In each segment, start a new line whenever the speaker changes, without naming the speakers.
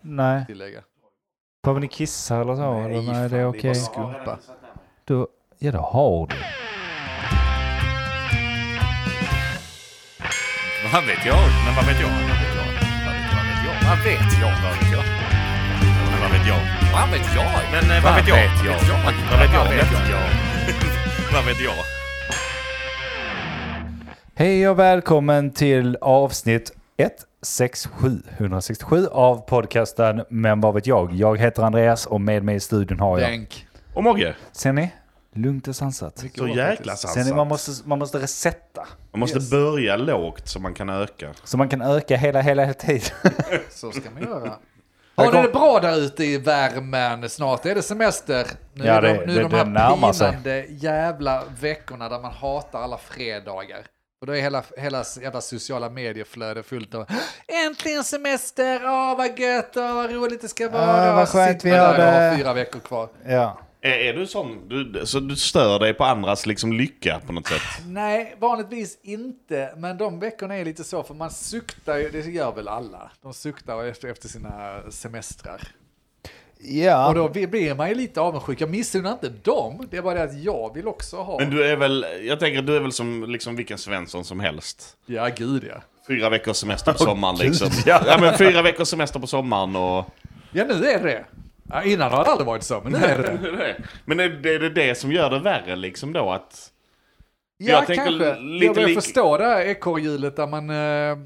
Nej.
tillägga.
Behöver ni kissa eller så? Nej, eller? Nej det är okej.
bara skumpa.
Då- Ja, det har du.
Vad vet jag? Men vad vet jag? Vad vet jag? Vad vet jag? Vad vet jag? Men vad vet jag? Vad vet jag? Men eh, vad vet jag? Vad vet jag? Vad vet jag? Vad vet jag?
Hej och välkommen till avsnitt 167, 167 av podcasten Men vad vet jag? Jag heter Andreas och med mig i studion har jag...
Bänk.
Och Mogge,
Ser ni? Lugnt och sansat.
så jäkla
Ser ni, man
sansat.
måste, man måste resetta.
Man måste börja lågt så man kan öka.
Så man kan öka hela, hela, hela tiden.
Så ska man göra. Har ni det bra där ute i värmen? Snart är det semester. Nu
Ja,
är
det-
de, nu är
det-
de
det närmar
här
sig.
pinande jävla veckorna där man hatar alla fredagar. Och då är hela, hela jävla sociala medieflöde fullt av Äntligen semester! Åh vad gött! Åh vad roligt det ska vara!
vad skönt
Sitter
vi
man
har
där och
det.
har fyra veckor kvar.
Ja.
Är, är du sån? Du, så du stör dig på andras liksom lycka på något sätt?
Nej, vanligtvis inte. Men de veckorna är lite så, för man suktar ju, det gör väl alla. De suktar efter, efter sina semestrar.
Ja.
Och då blir man ju lite avundsjuk. Jag missunnar inte dem, det är bara det att jag vill också ha.
Men du är väl, jag tänker att du är väl som liksom vilken Svensson som helst.
Ja, gud ja.
Fyra veckors semester på sommaren liksom. Ja. men fyra veckors semester på sommaren och...
Ja, nu är det det. ja, Innan har det aldrig varit så, men nu är det det.
Men är det, är det det som gör det värre liksom då att...
Ja,
Jag tänker
kanske.
lite
jag börjar
lik-
förstå det här ekorrhjulet där man... Eh,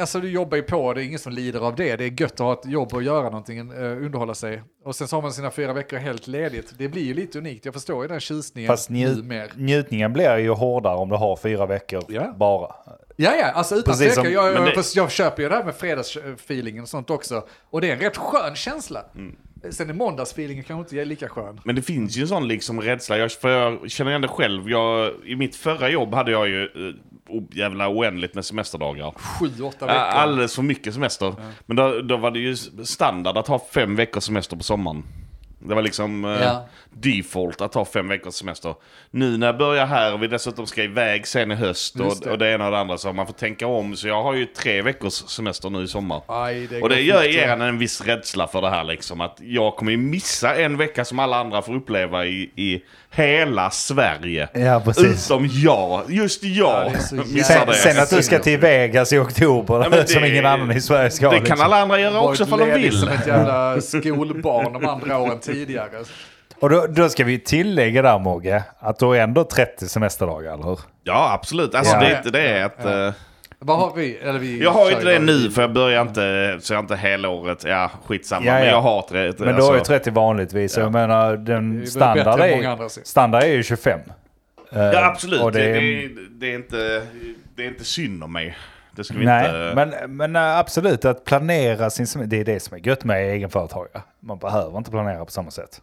alltså du jobbar ju på, det är ingen som lider av det. Det är gött att ha ett jobb och göra någonting, eh, underhålla sig. Och sen så har man sina fyra veckor helt ledigt. Det blir ju lite unikt, jag förstår ju den tjusningen
Fast njut,
mer.
njutningen blir ju hårdare om du har fyra veckor
Ja.
bara.
Ja, ja, alltså utan
Precis som-
tvekan. Jag,
men
jag,
det-
jag köper ju det här med fredagsfeelingen och sånt också. Och det är en rätt skön känsla.
Mm.
Sen är måndagsfeelingen kanske inte är lika skön.
Men det finns ju en sån liksom rädsla, jag, för jag känner igen det själv. Jag, I mitt förra jobb hade jag ju eh, o- jävla oändligt med semesterdagar.
Sju, åtta
Ja,
veckor.
Alldeles för mycket semester. Men då, då var det ju standard att ha fem veckors semester på sommaren. Det var liksom eh,
Ja.
default att ha fem veckors semester. Nu när jag börjar här och vi dessutom ska iväg sen i höst
Just
och
det.
det. och det ena och det andra så har man får tänka om. Så jag har ju tre veckors semester nu i sommar.
Aj, det
och
går
det gör
fort, ja.
igen en viss rädsla för det här liksom. Att jag kommer ju missa en vecka som alla andra får uppleva i, i hela Sverige.
Ja, precis.
Utom jag. Just jag
Ja, det är så jävla
missar
Sen,
det.
sen att du ska till Vegas i oktober
Ja, men
som
det-
ingen annan i Sverige ska.
Det kan
liksom.
alla andra göra
Varit
också om de
ledig
vill.
som liksom ett jävla skolbarn de andra åren tidigare.
Och då, då ska vi tillägga där Mogge, att du har ändå 30 semesterdagar, eller hur?
Ja, absolut. Alltså,
Ja.
det är inte det att... eh,
Vad har vi? Eller vi
Jag har ju
kör
inte det
igång.
nu, för jag börjar inte... Så jag har inte helåret. Ja, skitsamma.
Ja,
Men
ja.
jag har inte det. alltså-
Men du har ju 30 vanligtvis. Jag menar,
väl
den standard
bättre än många
är,
andra ser.
standard är ju 25.
Ja, absolut.
Och
Det,
det är-
det, är- det, är inte, det är inte synd om mig. Det ska vi
Nej,
inte...
men, men äh, absolut att planera sin semester, det är det som är gött med egenföretagare. Man behöver inte planera på samma sätt.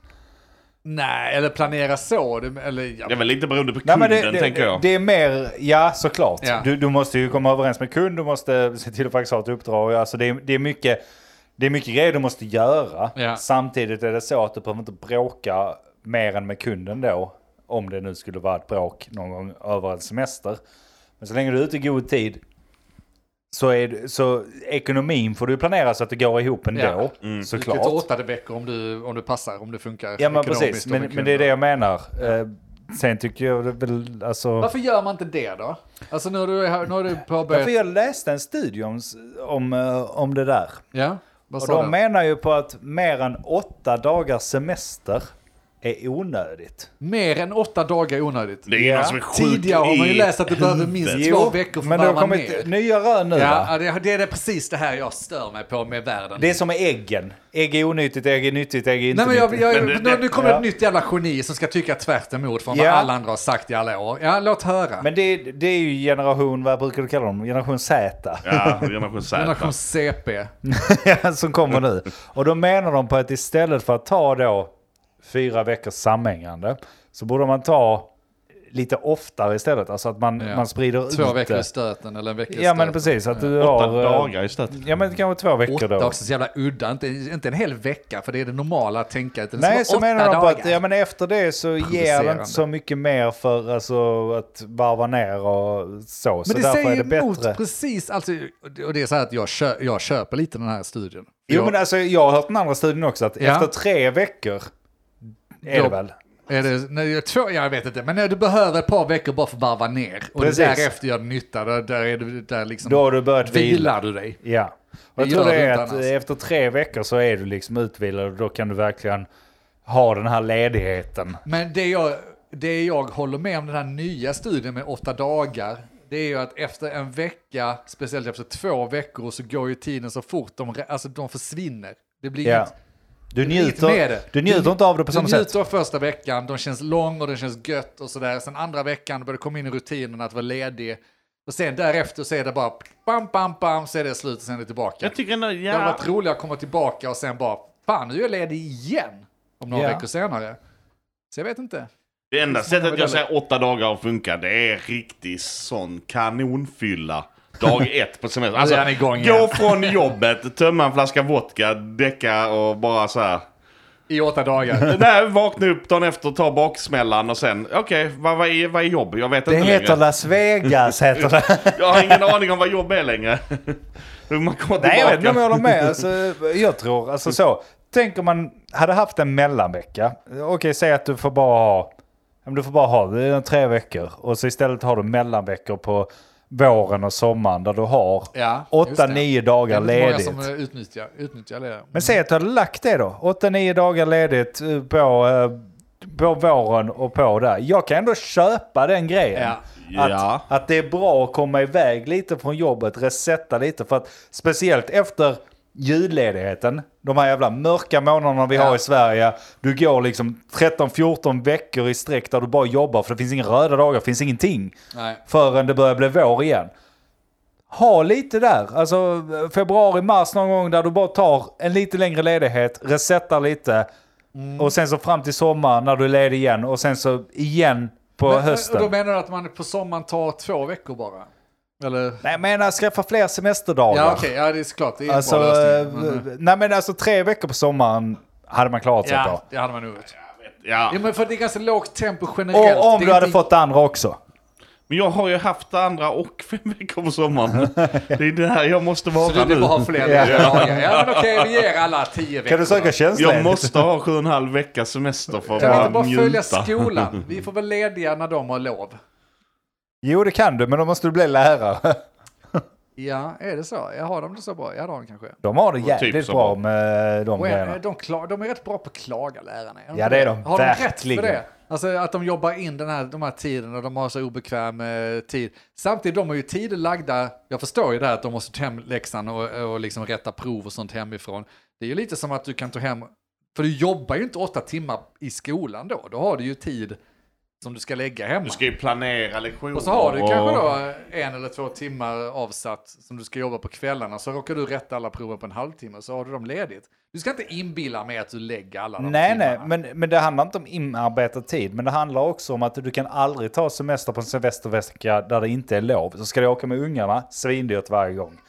Nej, eller planera så. det- Eller, ja,
Det är väl inte beroende på
Nej,
kunden,
men det, det,
tänker jag.
det är mer, ja såklart.
Ja.
Du, du måste ju komma överens med kund, du måste se till att faktiskt ha ett uppdrag. Alltså det, är, det, är mycket, det är mycket grejer du måste göra.
Ja.
Samtidigt är det så att du behöver inte bråka mer än med kunden då. Om det nu skulle vara ett bråk någon gång över en semester. Men så länge du är ute i god tid så, är, du- så ekonomin får du ju planera så att det går ihop ändå.
Ja. du kan ta
Såklart.
åtta veckor om du, om du passar, om det funkar
Ja men
ekonomiskt
precis,
och
men,
med
men det är det
kunder.
jag menar. Eh, Sen tycker jag det väl, alltså...
Varför gör man inte det då? Alltså nu har du, här- nu har du
Ja, för
påbörjat...
jag läste en studie om, om, eh, om det där.
Ja, vad
Och
sa
de
du?
menar ju på att mer än åtta dagars semester är onödigt.
Mer än åtta dagar är onödigt.
Det är ingen
Ja.
som är sjuk
Tidigare har man ju
i
läst att du behöver
huvudet.
minst två veckor för
men
att
det har
varva
kommit
ner.
nya rön nu
Ja,
va?
ja, det, det är det precis det här jag stör mig på med världen.
Det är som med äggen. Ägg är onyttigt, ägg är nyttigt, ägg är inte
Nej, men jag,
nyttigt.
jag,
Men det-
nu,
det-
nu kommer
ja.
ett nytt jävla geni som ska tycka tvärt emot från
Ja.
vad alla andra har sagt i alla år. Ja, låt höra.
Men det, det är ju generation, vad brukar du kalla dem? Generation Z.
Ja, generation Z.
Generation CP.
som kommer nu. Och då menar de på att istället för att ta då fyra veckors sammanhängande så borde man ta lite oftare istället. Alltså att man,
Ja.
man sprider
Två
ut
veckor i
det.
stöten eller en vecka i
Ja men
stöten.
precis, att du
Åtta
har... eh,
dagar i stöten.
Ja men kanske två veckor
Åtta
då.
också, så jävla udda. Inte, inte en hel vecka, för det är det normala att tänka. Utan det
Nej,
ska
så
vara
menar
åtta
de på
dagar.
att ja, men efter det så ger det
Provocerande.
inte så mycket mer för alltså, att varva ner och så. Så
Men det
därför
säger
är det
emot
bättre.
precis, alltså, och det är så här att jag, kö, jag köper lite den här studien.
Jo
Jag-
men alltså jag har hört den andra studien också att
Ja.
efter tre veckor är
Då-
det väl.
Är det, nej, två, jag vet inte, men nej, du behöver ett par veckor bara för att varva ner. Och
Precis.
därefter gör det nytta, där, där, är det, där liksom
Då har du börjat vila.
vilar du dig.
Ja. Och jag
Det
tror
gör
det
du
är
inte
att
annars.
efter tre veckor så är du liksom utvilad och då kan du verkligen ha den här ledigheten.
Men det jag, det jag håller med om den här nya studien med åtta dagar, det är ju att efter en vecka, speciellt efter två veckor, så går ju tiden så fort, de, re- alltså de försvinner. Det blir
Ja.
inget,
Du
är lite med
njuter,
det.
du njuter
Du-
inte av det på samma
du
sätt.
njuter av första veckan, de känns lång och den känns gött och sådär. Sen andra veckan börjar det komma in i rutinen att vara ledig. Och sen därefter så är det bara bam, bam, bam, så är det slut och sen är det tillbaka.
Jag tycker ändå,
Det hade
ja.
varit roligare att komma tillbaka och sen bara, fan nu är jag ledig igen. Om några
Ja.
veckor senare. Så jag vet inte.
Det enda sättet
Eller-
jag säger åtta dagar att funka, det är riktig sån kanonfylla. Dag ett på semestern.
Nu är han igång
gå
igen.
från jobbet, tömma en flaska vodka, däcka och bara så här.
I åtta dagar.
Nej, vakna upp dagen efter, ta baksmällan och sen, okej, vad, vad, är, vad är jobb? Jag vet
Det
inte
heter
längre.
Las Vegas heter det.
Jag har ingen aning om vad jobb är längre. Hur man kommer
Nej, jag vet inte
tillbaka.
om jag håller med. Alltså, jag tror, alltså så. Tänk om man hade haft en mellanvecka. Okej, säg att du får bara ha, ja, men du får bara ha det är tre veckor. Och så istället har du mellanveckor på våren och sommaren där du har
Ja, just
åtta,
det.
nio dagar
Det är många
ledigt.
som eh, utnyttjar, utnyttjar det.
Men säg att du hade lagt det då. Åtta, nio dagar ledigt eh, på, eh, på våren och på där. Jag kan ändå köpa den grejen.
Ja.
Att,
Ja.
att det är bra att komma iväg lite från jobbet, resetta lite. För att speciellt efter julledigheten, de här jävla mörka månaderna vi
Ja.
har i Sverige. Du går liksom 13-14 veckor i sträck där du bara jobbar för det finns inga röda dagar, det finns ingenting.
Nej.
Förrän det börjar bli vår igen. Ha lite där, alltså februari, mars någon gång där du bara tar en lite längre ledighet, resetar lite.
Mm.
Och sen så fram till sommar när du är ledig igen och sen så igen på
Men- eh,
hösten.
Och då menar du att man på sommaren tar två veckor bara? Eller?
Nej, jag menar skaffa fler semesterdagar.
Ja, okej, ja, det är såklart. Det är en
alltså,
bra lösning.
eh,
Men, eh,
nej men alltså tre veckor på sommaren hade man klarat sig
ja,
på.
det hade man nog gjort.
Ja.
Ja, men för det är ganska lågt tempo generellt.
Och om
Det är
du hade
inte-
fått det andra också.
Men jag har ju haft det andra och fem veckor på sommaren. Det är det här jag måste vara
Så du
nu.
vill bara ha fler
Ja.
dagar? Ja, men okej, vi ger alla tio veckor.
Kan du söka
Jag
tjänstledigt?
måste ha sju och en halv vecka semester för att
Kan vi
bara
inte bara följa
njuta.
skolan? Vi får väl lediga när de har lov.
Jo det kan du men då måste du bli lärare.
Ja, är det så? Jag har de det så bra? Ja, det har de kanske.
De har det jävligt
typ så
bra
bra.
med de
Och
grejerna.
är, de, kla- de är rätt bra på att klaga, lärarna.
Ja, det är de.
Har de rätt för
Verkligen.
det? Alltså att de jobbar in den här, de här tiden och de har så obekväm eh, tid. Samtidigt, de har ju tider lagda. Jag förstår ju det här att de måste ta hem läxan och, och liksom rätta prov och sånt hemifrån. Det är ju lite som att du kan ta hem, för du jobbar ju inte åtta timmar i skolan då. Då har du ju tid som du ska lägga hemma.
Du ska ju planera lektioner.
Och så har du kanske då en eller två timmar avsatt som du ska jobba på kvällarna. Så råkar du rätta alla proven på en halvtimme så har du dem ledigt. Du ska inte inbilla mig att du lägger alla de
Nej, nej,
timmarna.
men, men det handlar inte om inarbetad tid. Men det handlar också om att du kan aldrig ta semester på en semestervecka där det inte är lov. Så ska du åka med ungarna, svindyrt varje gång.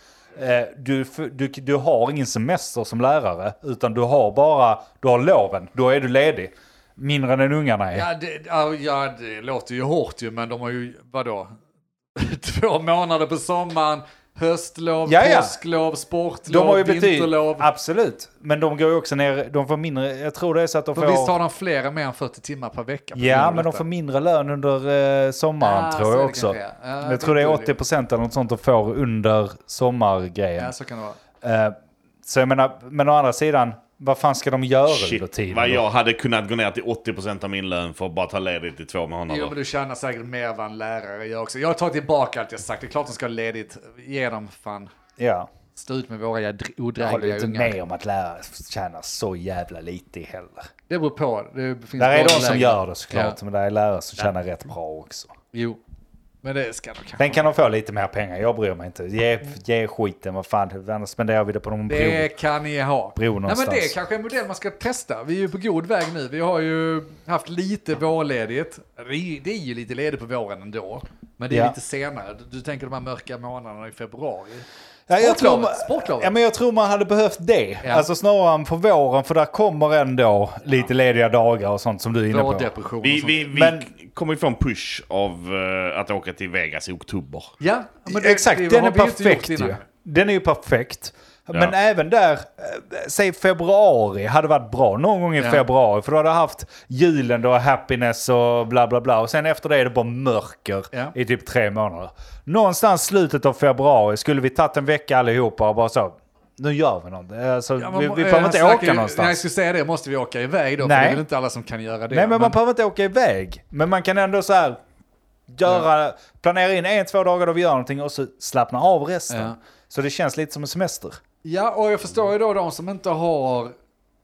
Eh, Du, f- du, du har ingen semester som lärare, utan du har bara, du har loven, då är du ledig. Mindre än ungarna är.
Ja det, ja, ja, det låter ju hårt ju, men de har ju, vadå? Två månader på sommaren, höstlov,
Ja, ja.
påsklov, sportlov,
de har ju betyd,
vinterlov.
absolut. Men de går ju också ner, de får mindre, jag tror det är så att de
För visst har
får...
de fler än mer än 40 timmar per vecka? på grund
Ja,
av
men de
detta?
får mindre lön under eh, sommaren
Ah, så
tror
är
jag
det
också.
kanske, ja. Ja,
jag tror det är
det är det.
80% eller något sånt de får under sommargrejen.
Ja, så kan det vara.
Eh, Så jag menar, men å andra sidan, vad fan ska de göra under
Shit,
tiden?
vad
då?
jag hade kunnat gå ner till 80% av min lön för att bara ta ledigt i två månader.
Jo, men du tjänar säkert mer vad en lärare gör också. Jag tar tillbaka allt jag sagt. Det är klart de ska ha ledigt. Ge dem fan.
Ja.
Stå ut med våra jädr-
Jag håller
odrägliga
inte
ungar.
med om att lärare tjänar så jävla lite heller.
Det beror på. Det finns
Där är de
både
som
lägen.
gör det såklart,
Ja.
men det är lärare som tjänar rätt bra också.
Jo. Men det ska de kanske.
Sen kan de få lite mer pengar, jag bryr mig inte. Ge, ge skiten, vad fan, annars spenderar vi det på någon bro.
Det kan ni ha.
Bro
Nej, men
någonstans.
det är kanske en modell man ska testa. Vi är ju på god väg nu. Vi har ju haft lite vårledigt. Det är- det är ju lite ledigt på våren ändå. Men det är
Ja.
lite senare. Du- Du tänker de här mörka månaderna i februari.
Ja, jag tror,
Sportlovet, sportlovet.
ja, men jag tror man hade behövt det.
Ja.
Alltså snarare än på våren, för där kommer ändå lite lediga dagar och sånt som du är inne på.
Vårdepression och
Vi,
sånt.
vi, vi
Men-
kommer ju få en push av eh, att åka till Vegas i oktober.
Ja, men det-
Exakt,
det
den är
har vi inte gjort
perfekt
innan.
ju. Den är ju perfekt. Men även där, eh, säg februari hade varit bra. Någon gång i
Ja.
februari. För då hade jag haft julen då, happiness och bla bla bla. Och sen efter det är det bara mörker
Ja.
i typ tre månader. Någonstans slutet av februari skulle vi tagit en vecka allihopa och bara så. Nu gör vi något. Alltså,
Ja,
vi,
man-
vi
eh,
behöver inte åka
snackar ju-
någonstans.
Nej, jag skulle säga det. Måste vi åka iväg då? För
Nej.
det är väl inte alla som kan göra det.
Nej, men, man behöver inte åka iväg. Men man kan ändå så här göra, planera in en, två dagar då vi gör någonting och så slappna av resten.
Ja.
Så det känns lite som en semester.
Ja, och jag förstår ju då de som inte har...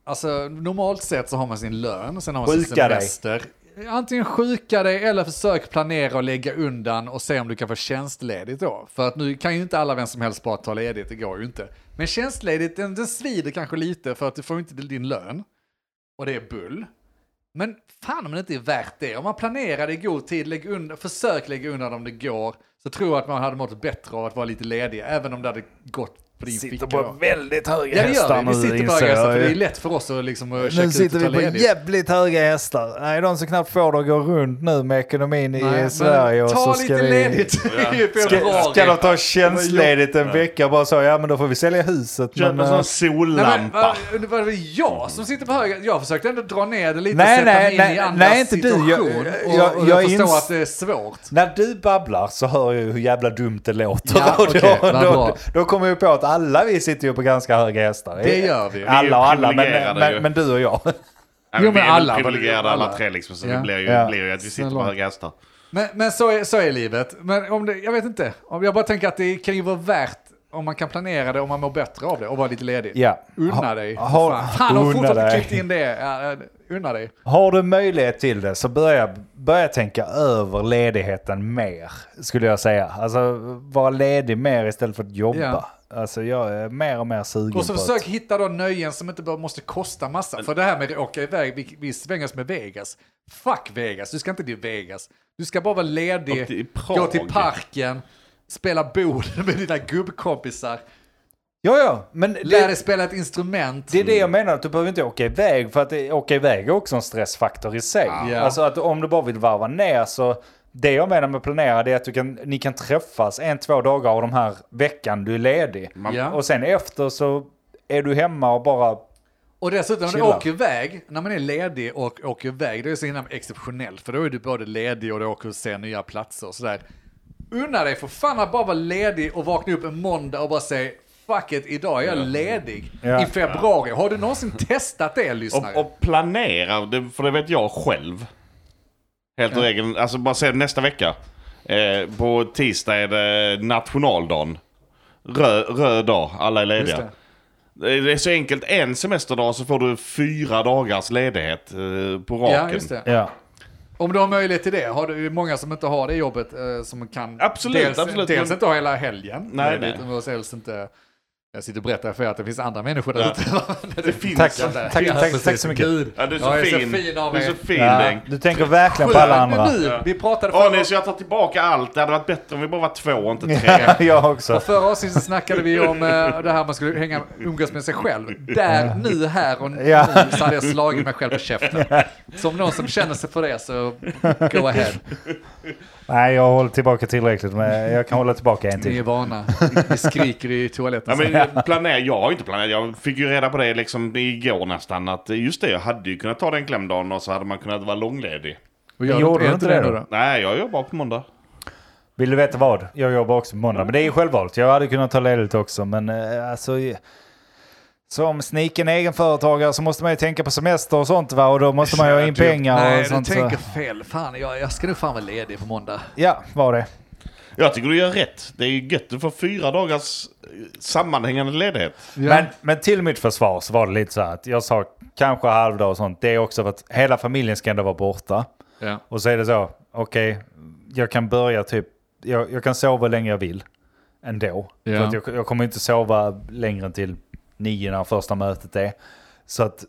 Alltså normalt sett så har man sin lön, sen har man sin
Sjuka dig.
semester. Antingen sjuka dig eller försök planera och lägga undan och se om du kan få tjänstledigt då. För att nu kan ju inte alla vem som helst bara ta ledigt, det går ju inte. Men tjänstledigt, den, den svider kanske lite för att du får inte din lön. Och det är bull. Men fan om det inte är värt det. Om man planerar det i god tid, lägg undan, försök lägga undan om det går. Så tror jag att man hade mått bättre av att vara lite ledig, även om det hade gått på din ficka. då.
väldigt höga
Ja det gör vi, vi sitter på höga hästar för det är
nu
lätt för oss att liksom eh, checka
nu
ut
sitter
och ta
vi på
ledigt.
jävligt höga hästar. Nej, de som knappt får det att gå runt nu med ekonomin
Nej,
i
men
Sverige. Och
ta
så
lite
ska vi,
ledigt i
Ska,
februari.
ska de ta tjänstledigt en vecka och bara så, ja men då får vi sälja huset.
Köp en
men, eh,
sån
Nej, men,
sollampa.
vad- det var väl jag som sitter på höga? Jag försökte ändå dra ner det lite,
Nej,
sätta mig
nej,
in i
nej,
andras
nej, inte du.
situation.
Jag-
och,
jag-
och jag,
jag
förstår
ins-
att det är svårt.
När du babblar så hör jag ju hur jävla dumt det låter.
Ja,
Och då,
okej, vad bra.
då, då kommer jag på att alla vi sitter ju på ganska höga hästar.
Det gör vi.
Vi är ju
Alla och alla, men,
privilegierade ju.
men, men du och jag.
Ja,
Jo,
vi
men
är väl
alla,
privilegierade alla,
alla.
tre liksom, så
Ja.
det blir ju,
Ja.
blir ju att vi sitter
Snälla.
på höga hästar.
Men, men så, är, så är livet. Men om det, jag vet inte. Om jag bara tänker att det kan ju vara värt om man kan planera det, om man mår bättre av det och vara lite ledig.
Ja.
Unna
Ha-
dig.
ha-
fan, fan har
unna
fortfarande
dig.
klippt in det. Ja, eh, Unna dig.
Har du möjlighet till det så börja, börja tänka över ledigheten mer, skulle jag säga. Alltså, vara ledig mer istället för att jobba.
Ja.
Alltså, jag är mer och mer sugen
Och så
på
försök
att...
hitta då nöjen som inte bara måste kosta massa. För det här med att åka iväg, vi, vi svänger oss med Vegas. Fuck Vegas, du ska inte till Vegas. Du ska bara vara
Och till
ledig,
Prag.
gå till parken, spela bord med dina gubbkompisar,
Ja, ja, men
lära dig
det,
spela ett instrument.
det är det jag menar, att du behöver inte åka iväg, för att det, åka iväg är också en stressfaktor i sig.
Ja.
Alltså att om du bara vill varva ner så, det jag menar med planera det är att du kan, ni kan träffas en, två dagar av de här veckan du är ledig.
Ja.
Och sen efter så är du hemma och bara
Och dessutom, när du
Chilla.
åker iväg, när man är ledig och åker iväg, då är det så himla exceptionellt, för då är du både ledig och du åker och ser nya platser och sådär. Unna dig för fan att bara vara ledig och vakna upp en måndag och bara säga Fuck it, idag är jag ledig
Ja.
i februari. Har du någonsin testat det, lyssnare?
Och, och planera, det- för det vet jag själv. Helt och egen, alltså bara se nästa vecka. Eh, på tisdag är det nationaldagen. Röd, röd dag, alla är
Just
lediga.
det.
Det är- det är så enkelt, en semesterdag så får du fyra dagars ledighet eh, på raken.
Ja, just det.
Ja.
Om du har möjlighet till det, har du många som inte har det jobbet eh, som kan...
Absolut,
dels,
absolut,
Dels
men-
inte ha hela helgen.
Nej,
ledigt,
nej.
Och dels inte... Jag sitter och berättar för er att det finns andra människor där ute. det finns
Tack,
sånt där.
tack, tack, tack,
precis.
så mycket.
Gud.
Ja, du är så
jag är
fin.
så fin av
du är
er.
så fin
Ja,
Bengt.
du tänker verkligen på alla andra.
Men nu, vi pratade
Åh
förra,
nej, så jag tar tillbaka allt. Det hade varit bättre om vi bara var två och inte tre.
Ja, jag också.
förra avsnittet snackade vi om eh, det här man skulle hänga, umgås med sig själv. Där, nu, här och nu
Ja.
så hade jag slagit mig själv på käften. Så om någon som känner sig för det så go ahead.
Nej, jag har hållit tillbaka tillräckligt. Men jag kan hålla tillbaka en
Ni är
till.
vana. Ni skriker i toaletten.
Ja, men planera, jag har inte planerat. Jag fick ju reda på det liksom igår nästan. Att just det, jag hade ju kunnat ta den klämdagen och så hade man kunnat vara långledig.
Och gör
Gjorde
är
du inte det
nu
då?
Nej, jag jobbar på måndag.
Vill du veta vad? Jag jobbar också på måndag. Men det är ju självvalt. Jag hade kunnat ta ledigt också. Men eh, alltså... eh, Som sniken egenföretagare så måste man ju tänka på semester och sånt va. Och då måste man ju ha in pengar
Nej,
och
du
sånt. Så.
tänker fel. Fan, jag, jag ska nog fan vara ledig på måndag.
Ja, var det.
Jag tycker du gör rätt. Det är ju gött. Du får fyra dagars eh, sammanhängande ledighet.
Men, men till mitt försvar så var det lite så här att jag sa kanske halvdag och sånt. Det är också för att hela familjen ska ändå vara borta.
ja.
Och så är det så, okej, jag kan börja typ jag, jag kan sova hur länge jag vill ändå.
Ja.
För att jag, jag kommer inte sova längre än till nio när första mötet är. Så att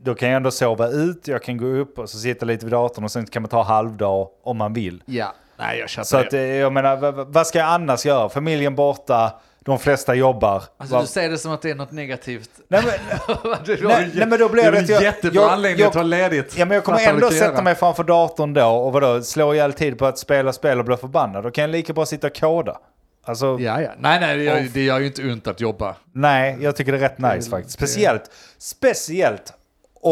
då kan jag ändå sova ut, jag kan gå upp och så sitta lite vid datorn och sen kan man ta halvdag om man vill.
Ja, nej jag köper
Så att eh, jag menar, vad- vad- vad ska jag annars göra? Familjen borta, de flesta jobbar.
Alltså
Vad-
du säger det som att det är något negativt.
Nej, men,
Du har
Nej,
ju-
nej, men då blir
är
det
väl
att jag-
jättebra
jag-
anledning
jag-
att ta ledigt.
Ja, men jag kommer
Fattar
ändå
du kan
sätta
göra.
mig framför datorn då och vadå, slå ihjäl tid på att spela spel och bli förbannad. Då kan jag lika bra sitta och koda. Alltså,
Ja, ja. Nej, nej, det gör, ju- det gör ju inte ont att jobba.
nej, jag tycker det är rätt nice faktiskt. Speciellt, speciellt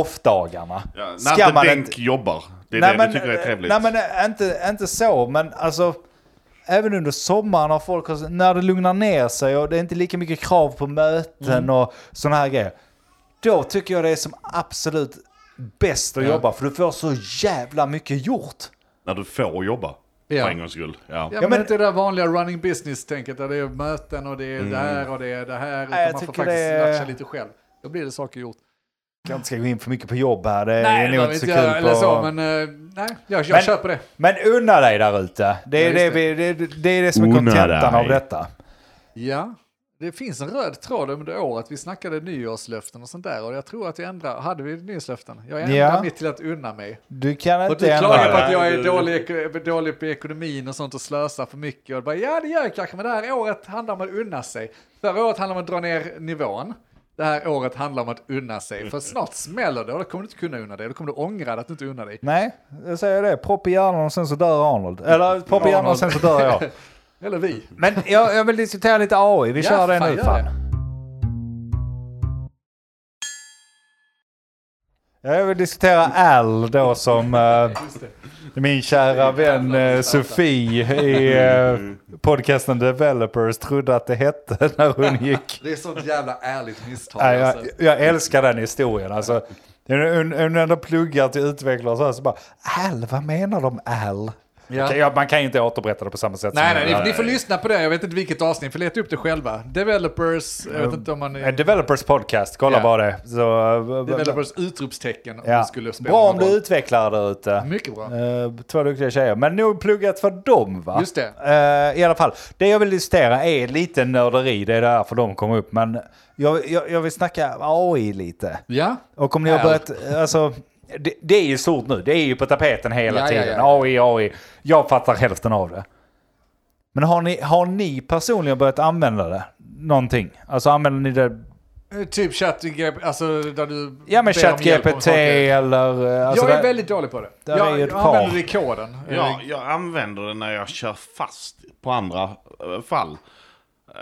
off-dagarna.
Ja,
Ska
när inte
man
Denk
inte-
jobbar. Det är det du tycker är trevligt.
Nej men eh, inte, inte så, men alltså... Även under sommaren har folk, har- när det lugnar ner sig och det är inte lika mycket krav på möten och sådana här grejer. Då tycker jag det är som absolut bäst att
Ja.
jobba, för du får så jävla mycket gjort.
När du får jobba.
Ja.
För en gångs skull. Ja.
Ja,
men-
men, inte det där vanliga running business-tänket där det är möten och det är det här och det är det här. Utan
Nej, jag
man får
tycker
faktiskt
det är-
latcha lite själv. Då blir det saker gjort.
Jag inte ska gå in för mycket på jobb här, det är
Nej,
nog
behöver
inte så
inte göra
kul.
eller
På...
så, men eh, nej, jag, jag
Men-
köper det.
Men unna dig där ute. Det är
Ja,
det,
just
vi, det, det är det som är
Unna
kontentan
dig.
av detta.
Ja, det finns en röd tråd under året. Vi snackade nyårslöften och sånt där och jag tror att jag ändrar, hade vi nyårslöften? Jag ändrar
Ja.
mitt till att unna mig.
Du kan
Och
inte
du klagar på
ändra
att
dig.
jag är
Nej,
dålig, ek- dålig på ekonomin och sånt och slösar för mycket. Och bara, ja, det gör jag kanske, men det här året handlar om att unna sig. Förra året handlade om att dra ner nivån. Det här året handlar om att unna sig. För snart smäller det och då kommer du inte kunna unna dig. Då kommer du ångra dig att du inte unnar dig.
Nej, jag säger det. Propp i hjärnan och sen så dör Arnold. Eller propp i hjärnan och sen så dör jag.
Eller vi.
Men jag, jag vill diskutera lite AI. Vi
Ja,
kör det
fan,
nu
gör
fan.
det.
Ja, jag vill diskutera Al då som eh, min kära vän eh, Sofie i
Mm.
eh, podcasten Developers trodde att det hette när hon gick.
Det är sånt jävla ärligt misstag.
Nej, jag,
alltså.
jag älskar den historien. Alltså, hon, hon ändå pluggar till utvecklare och så, här, så bara, Al, vad menar de Al?
Ja.
Okej, ja, man kan ju inte återberätta det på samma sätt
Nej,
som
nej, ni, ni får lyssna på det. Jag vet inte vilket avsnitt, ni får leta upp det själva. Developers, jag
Mm.
vet inte om man...
En Eh, developers podcast, kolla
Ja.
bara det. Så, eh,
Developers utropstecken om
ja.
det skulle spela
Bra om
någon
du
roll.
är utvecklare där ute.
Mycket bra.
Eh, två duktiga tjejer. Men nog pluggat för dem va?
Just det.
Eh, I alla fall, det jag vill diskutera är lite nörderi, det är därför de kom upp. Men jag, jag, jag vill snacka AI lite.
Ja,
Och om ni har
Al.
börjat, alltså, det, det är ju stort nu, det är ju på tapeten hela
Ja, ja,
tiden.
ja.
AI, AI. Jag fattar hälften av det. Men har ni, har ni personligen börjat använda det? Någonting? Alltså använder ni det?
Eh, Typ ChatGPT, alltså där du...
Ja men
ber om hjälp om
ChatGPT
saker.
eller... eh, Alltså
jag är
det-
väldigt dålig på det.
där är
Jag,
ju ett
jag
par.
använder eh, det i koden.
Ja, jag använder det när jag kör fast på andra eh, fall.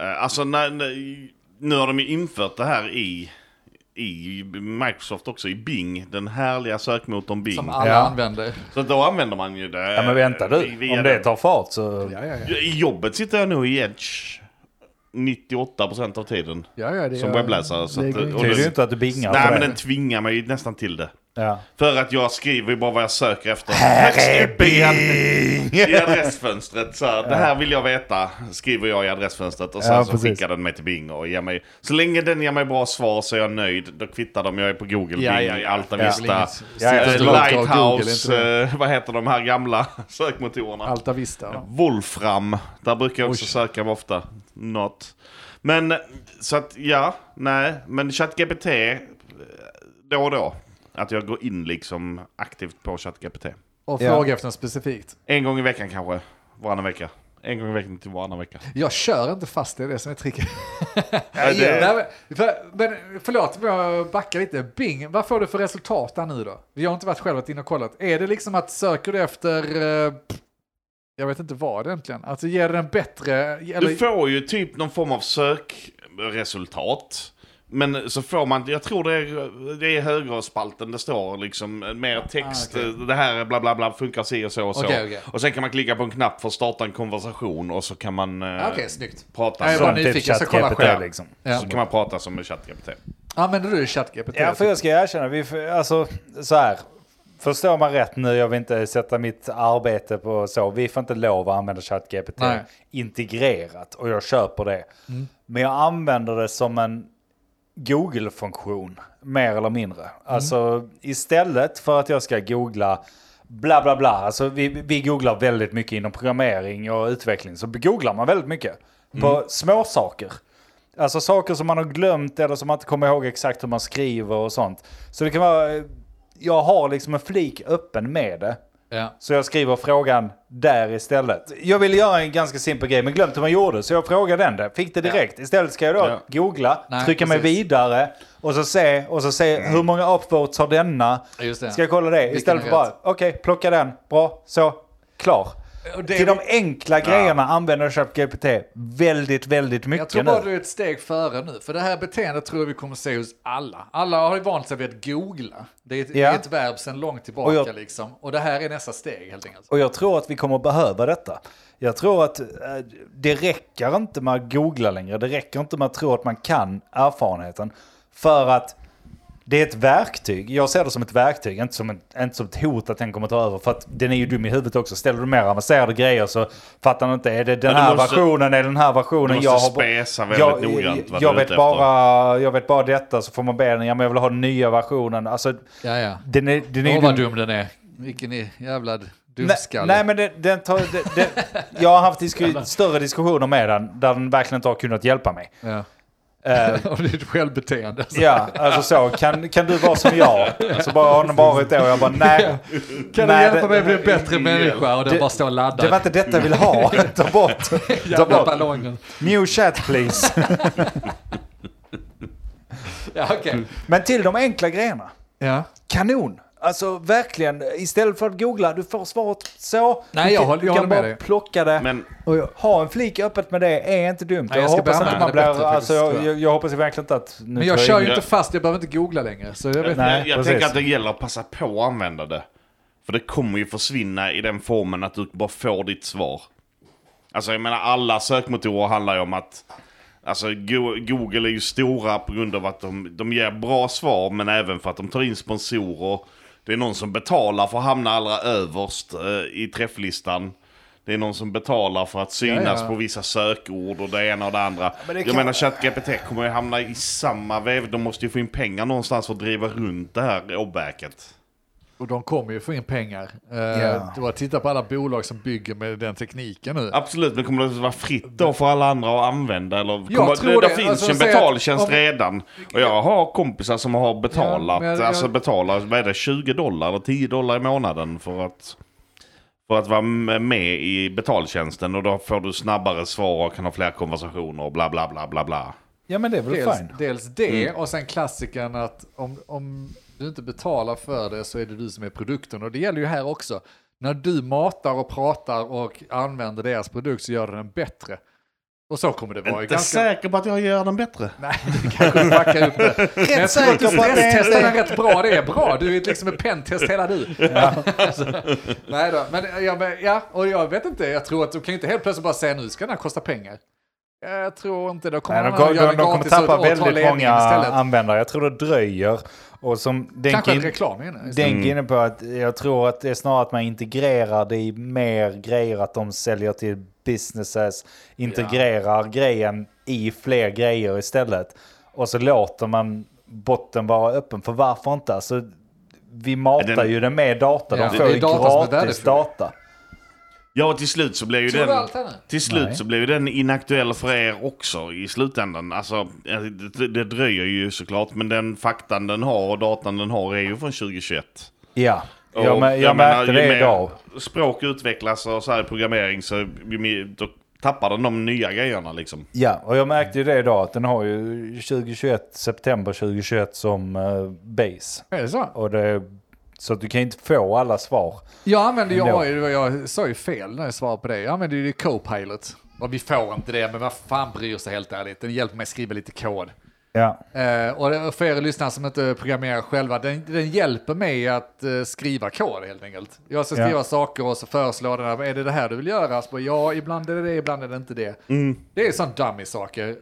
Eh, Alltså när, när- nu har de ju infört det här i, i Microsoft också, i Bing. Den härliga sökmotorn Bing.
Som alla
Ja.
använder.
Så då använder man ju det.
Ja men vänta
eh,
du,
via
om det
den.
tar fart så...
Ja, ja, ja.
I jobbet sitter jag nog i Edge 98% av tiden.
ja, ja det
Som
jag-
webbläsare. Så att,
lägger in.
Det
och
är ju
den,
inte att du bingar
nej
för
men
det.
den tvingar mig ju nästan till det.
Ja.
För att jag skriver ju bara vad jag söker efter.
Här är
I adressfönstret så här, det här vill jag veta, skriver jag i adressfönstret och sen
Ja,
så
precis.
skickar den mig till Bing och ger mig, så länge den ger mig bra svar så är jag nöjd, då kvittar de, jag är på Google,
Ja,
Bing,
ja, ja.
Alta
Ja.
Vista,
Ja, ja.
eh,
Det är
långt av Google,
Lighthouse,
inte
eh, vad heter de här gamla sökmotorerna?
Alta Vista. va?
Wolfram, där brukar jag också söka mig ofta, något. Men så att ja, nej, men ChatGPT, eh, då och då, att jag går in liksom aktivt på ChatGPT.
Och
Ja.
fråga efter något specifikt.
En gång i veckan kanske. Varannan vecka. En gång i veckan till varannan vecka.
Jag kör inte fast, det är det som är tricket.
Ja, det,
Nej, men, för, men förlåt, men jag backar lite. Bing, vad får du för resultat där nu då? Vi har inte varit själva inne och kollat. Är det liksom att söker du efter... eh, Jag vet inte vad egentligen. Alltså ger den bättre... Eller,
du får ju typ någon form av sökresultat. Men så får man, jag tror det är, det är högerspalten det står liksom mer text.
Ah, okej.
Det här bla bla bla funkar si och så och så.
Okej, okej.
Och sen kan man klicka på en knapp för att starta en konversation och så kan man eh,
Okej, snyggt.
prata.
Nej,
så,
typ
bara nyfiken, jag ska kolla
ChatGPT,
själv.
liksom.
Ja.
så kan man prata som en ChatGPT.
Använder du ChatGPT?
Ja, för jag ska erkänna, vi, får- alltså så här. Förstår man rätt nu, jag vill inte sätta mitt arbete på så, vi får inte lov att använda ChatGPT
Nej.
integrerat och jag köper det. Men jag använder det som en Google-funktion, mer eller mindre. Alltså istället för att jag ska googla bla bla bla. Alltså vi, vi googlar väldigt mycket inom programmering och utveckling. Så googlar man väldigt mycket på små saker. Alltså saker som man har glömt eller som man inte kommer ihåg exakt hur man skriver och sånt. Så det kan vara, eh, jag har liksom en flik öppen med det.
Ja.
Så jag skriver frågan där istället. Jag ville göra en ganska simpel grej men glömt hur man gjorde så jag frågade den det. Fick det direkt. Istället ska jag då
Ja.
googla,
Nej,
trycka mig
precis. Mm.
vidare och så se, och så se hur många upvotes har denna.
Just det.
Ska jag kolla det istället för
är
bara
rätt?
okej plocka den, bra, så, klar.
Och det-
Till de enkla grejerna använder ChatGPT väldigt, väldigt
Jag
mycket
tror bara
nu.
du är ett steg före nu, för det här beteendet tror jag vi kommer se hos alla. Alla har ju vant sig vid att googla. Det är ett, det
Ja.
är ett verb sedan långt tillbaka
Och jag-
liksom. Och det här är nästa steg helt enkelt.
Och jag tror att vi kommer behöva detta. Jag tror att eh, det räcker inte med att googla längre. Det räcker inte med att tro att man kan erfarenheten. För att det är ett verktyg. Jag ser det som ett verktyg, inte som, ett- inte som ett hot att den kommer ta över. För att den är ju dum i huvudet också. Ställer du mer avancerade grejer så fattar den inte. Är det den
Men du
här
måste-
versionen? Är det den här versionen?
Du måste
jag har ba-
späsa väldigt
jag,
noggrant
Jag,
vad du är
jag,
ute
vet
efter.
bara, jag vet bara detta så får man be den. Ja, men jag vill ha den nya versionen. Alltså,
Ja, ja.
den är, den är ju
Åh vad
dum.
dum den är. Vilken är jävla
Nej,
dumskalle.
nej men det, den tar, det, det, jag har haft disku, större diskussioner med den där den verkligen inte har kunnat hjälpa mig.
Ja.
Eh,
Och det är ett självbeteende. alltså.
ja, alltså så, kan, kan du vara som jag? Så bara har den varit det och jag bara nej.
Kan
nej,
du hjälpa mig att bli en
det-
bättre människa? Och den
det-
bara står laddad.
Det var inte detta jag ville ha, ta bort. Ta
Jävla
bort.
ballongen.
New chat please.
Ja, okej.
Men till de enkla grejerna.
Ja.
Kanon! Alltså verkligen, istället för att googla, du får svaret så.
Nej,
Du
jag
kan-
håller- jag
Du
håller
kan
med
bara
dig.
plocka det.
Men-
och ha en flik öppet med det är inte dumt.
Nej, jag
jag,
ska
hoppas
börja
inte
med
man
det bättre
blir... Alltså,
faktiskt,
jag,
tror jag.
jag, jag hoppas verkligen inte att... Nu
Men
tror
jag kör ju
in-
inte fast, jag behöver inte googla längre. Så jag vet inte.
Nej,
jag
precis.
tänker att det gäller att passa på att använda det. För det kommer ju försvinna i den formen att du bara får ditt svar. Alltså jag menar alla sökmotorer handlar ju om att Alltså Go- Google är ju stora på grund av att de, de ger bra svar men även för att de tar in sponsorer. Det är någon som betalar för att hamna allra överst eh, i träfflistan. Det är någon som betalar för att synas
Ja, ja.
på vissa sökord och det ena och det andra.
Men det
jag
kan-
menar ChatGPT kommer ju hamna i samma väv. De måste ju få in pengar någonstans för att driva runt det här åbäket.
Och de kommer ju få in pengar. Eh,
Ja.
Det var att titta på alla bolag som bygger med den tekniken nu.
Absolut, men kommer det att vara fritt då för alla andra att använda? Eller kommer,
tror
det,
det.
det finns
Alltså,
ju en
säg att
betaltjänst
om-
redan. Och jag har kompisar som har
Ja,
betalat,
men jag-
alltså
jag-
betalar, vad är det, 20 dollar eller 10 dollar i månaden för att, för att vara med i betaltjänsten. Och då får du snabbare svar och kan ha fler konversationer och bla bla bla bla bla.
Ja, men det är väl
Dels,
fine. Mm.
dels det och sen klassikern att om, om du inte betalar för det så är det du som är produkten. Och det gäller ju här också. När du matar och pratar och använder deras produkt så gör du den bättre. Och så kommer det vara.
Jag är
ganska...
inte säker på att jag gör den bättre.
Nej, du kanske backar upp det. Men jag tror att du
säker på att det är
stresstestar den
inte-
rätt bra. Det är bra. Du är liksom en pentest hela du. Alltså, nej då, men, ja, men ja, och jag vet inte. Jag tror att du kan inte helt plötsligt bara säga nu ska den här kosta pengar. Jag tror inte. Då kommer
Nej, de,
någon
kommer-
att göra
de,
den
de kommer
gratis och-
tappa
och ta
väldigt
ledningen
många
istället.
användare. Jag tror det dröjer. Och som den
Kanske att
kin-
reklam är inne.
den är inne på att jag tror att det är snarare att man integrerar det i mer grejer, att de säljer till businesses, integrerar grejen i fler grejer istället. Och så låter man botten vara öppen, för varför inte? Alltså, vi matar
Den-
ju den med data,
Ja,
de
det
får
är
ju
data som är
gratis
värdefull.
data.
Ja, och till slut så blir ju
Tror du
den...
allt annat?
Till slut
Nej.
så blir ju den inaktuell för er också i slutändan. Alltså, det, det dröjer ju såklart, men den faktan den har och datan den har är ju från 2021.
Ja,
Och
jag, mä- jag
menar,
märkte
ju
det
mer
idag.
Språk utvecklas och så här i programmering så ju mer- då tappar den de nya grejerna liksom.
Ja, och jag märkte ju det idag att den har ju 2021, september 2021 som eh, base.
Är det så?
Och det, så att du kan ju inte få alla svar.
Jag använder ju
Ändå.
AI, det var- jag sa ju fel när jag svarade på det. Jag använder ju det i Copilot. Och vi får inte det, men vad fan bryr sig helt ärligt? Den hjälper mig att skriva lite kod.
Ja,
Eh, och det- för er lyssnare som inte programmerar själva, den, den hjälper mig att eh, skriva kod helt enkelt. Jag ska
Ja.
skriva saker och så föreslår den, här, är det det här du vill göra? Så bara, ja, ibland är det det, ibland är det inte det.
Mm.
Det är sånt dummy saker. Eh,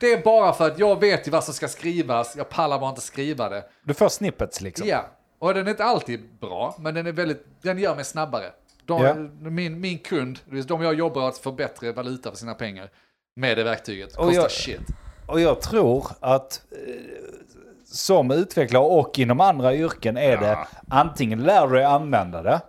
Det är bara för att jag vet ju vad som ska skrivas, jag pallar bara inte skriva det.
du får snippets liksom.
Ja, och den är inte alltid bra, men den, är väldigt, den gör mig snabbare. De, min, min kund, det är de jag jobbar åt, får bättre valuta för sina pengar med det verktyget. Kostar
jag-
shit.
Och jag tror att eh, som utvecklare och inom andra yrken är det antingen lär du dig använda det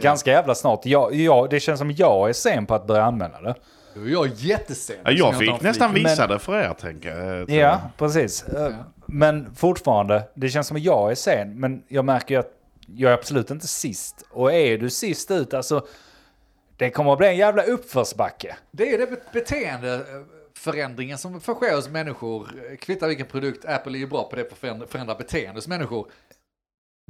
ganska jävla snart. Jag, jag, det känns som jag är sen på att börja använda det.
Nu är jag jättesen.
Ja, jag fick nästan
flik.
visa det för er, tänker jag. tror
Ja,
jag.
precis. Eh, Men fortfarande, det känns som att jag är sen, men jag märker ju att jag är absolut inte sist. Och är du sist ut, alltså, det kommer att bli en jävla uppförsbacke.
Det är det bet- beteendeförändringen som får ske hos människor. Kvittar vilken produkt, Apple är ju bra på det, på att förändra- förändra beteende hos människor.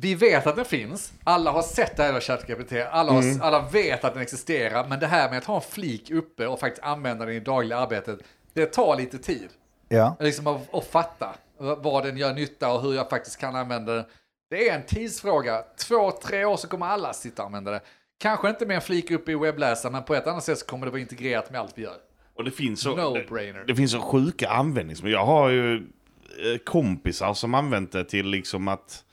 Vi vet att den finns, alla har sett det här ChatGPT, alla, har- alla vet att den existerar, men det här med att ha en flik uppe och faktiskt använda den i dagliga arbetet, det tar lite tid.
Ja.
Liksom att, att fatta vad den gör nytta och hur jag faktiskt kan använda den. Det är en tidsfråga. Två, tre år så kommer alla sitta och använda det. Kanske inte med en flik upp i webbläsaren, men på ett annat sätt så kommer det vara integrerat med allt vi gör.
Och det finns så,
No-brainer.
det, det finns så sjuka användningsmöjligheter. Jag har ju eh, kompisar som använt det till liksom att...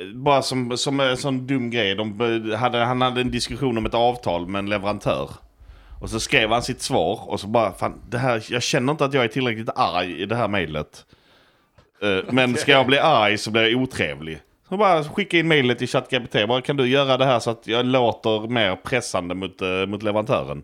eh, Bara som, som en sån dum grej. De eh, hade, han hade en diskussion om ett avtal med en leverantör. Och så skrev han sitt svar och så bara, fan, det här, jag känner inte att jag är tillräckligt arg i det här mejlet. Eh, Men ska jag bli arg så blir jag otrevlig. Så bara skicka in mejlet till ChatGPT. Bara, kan du göra det här så att jag låter mer pressande mot, eh, mot leverantören?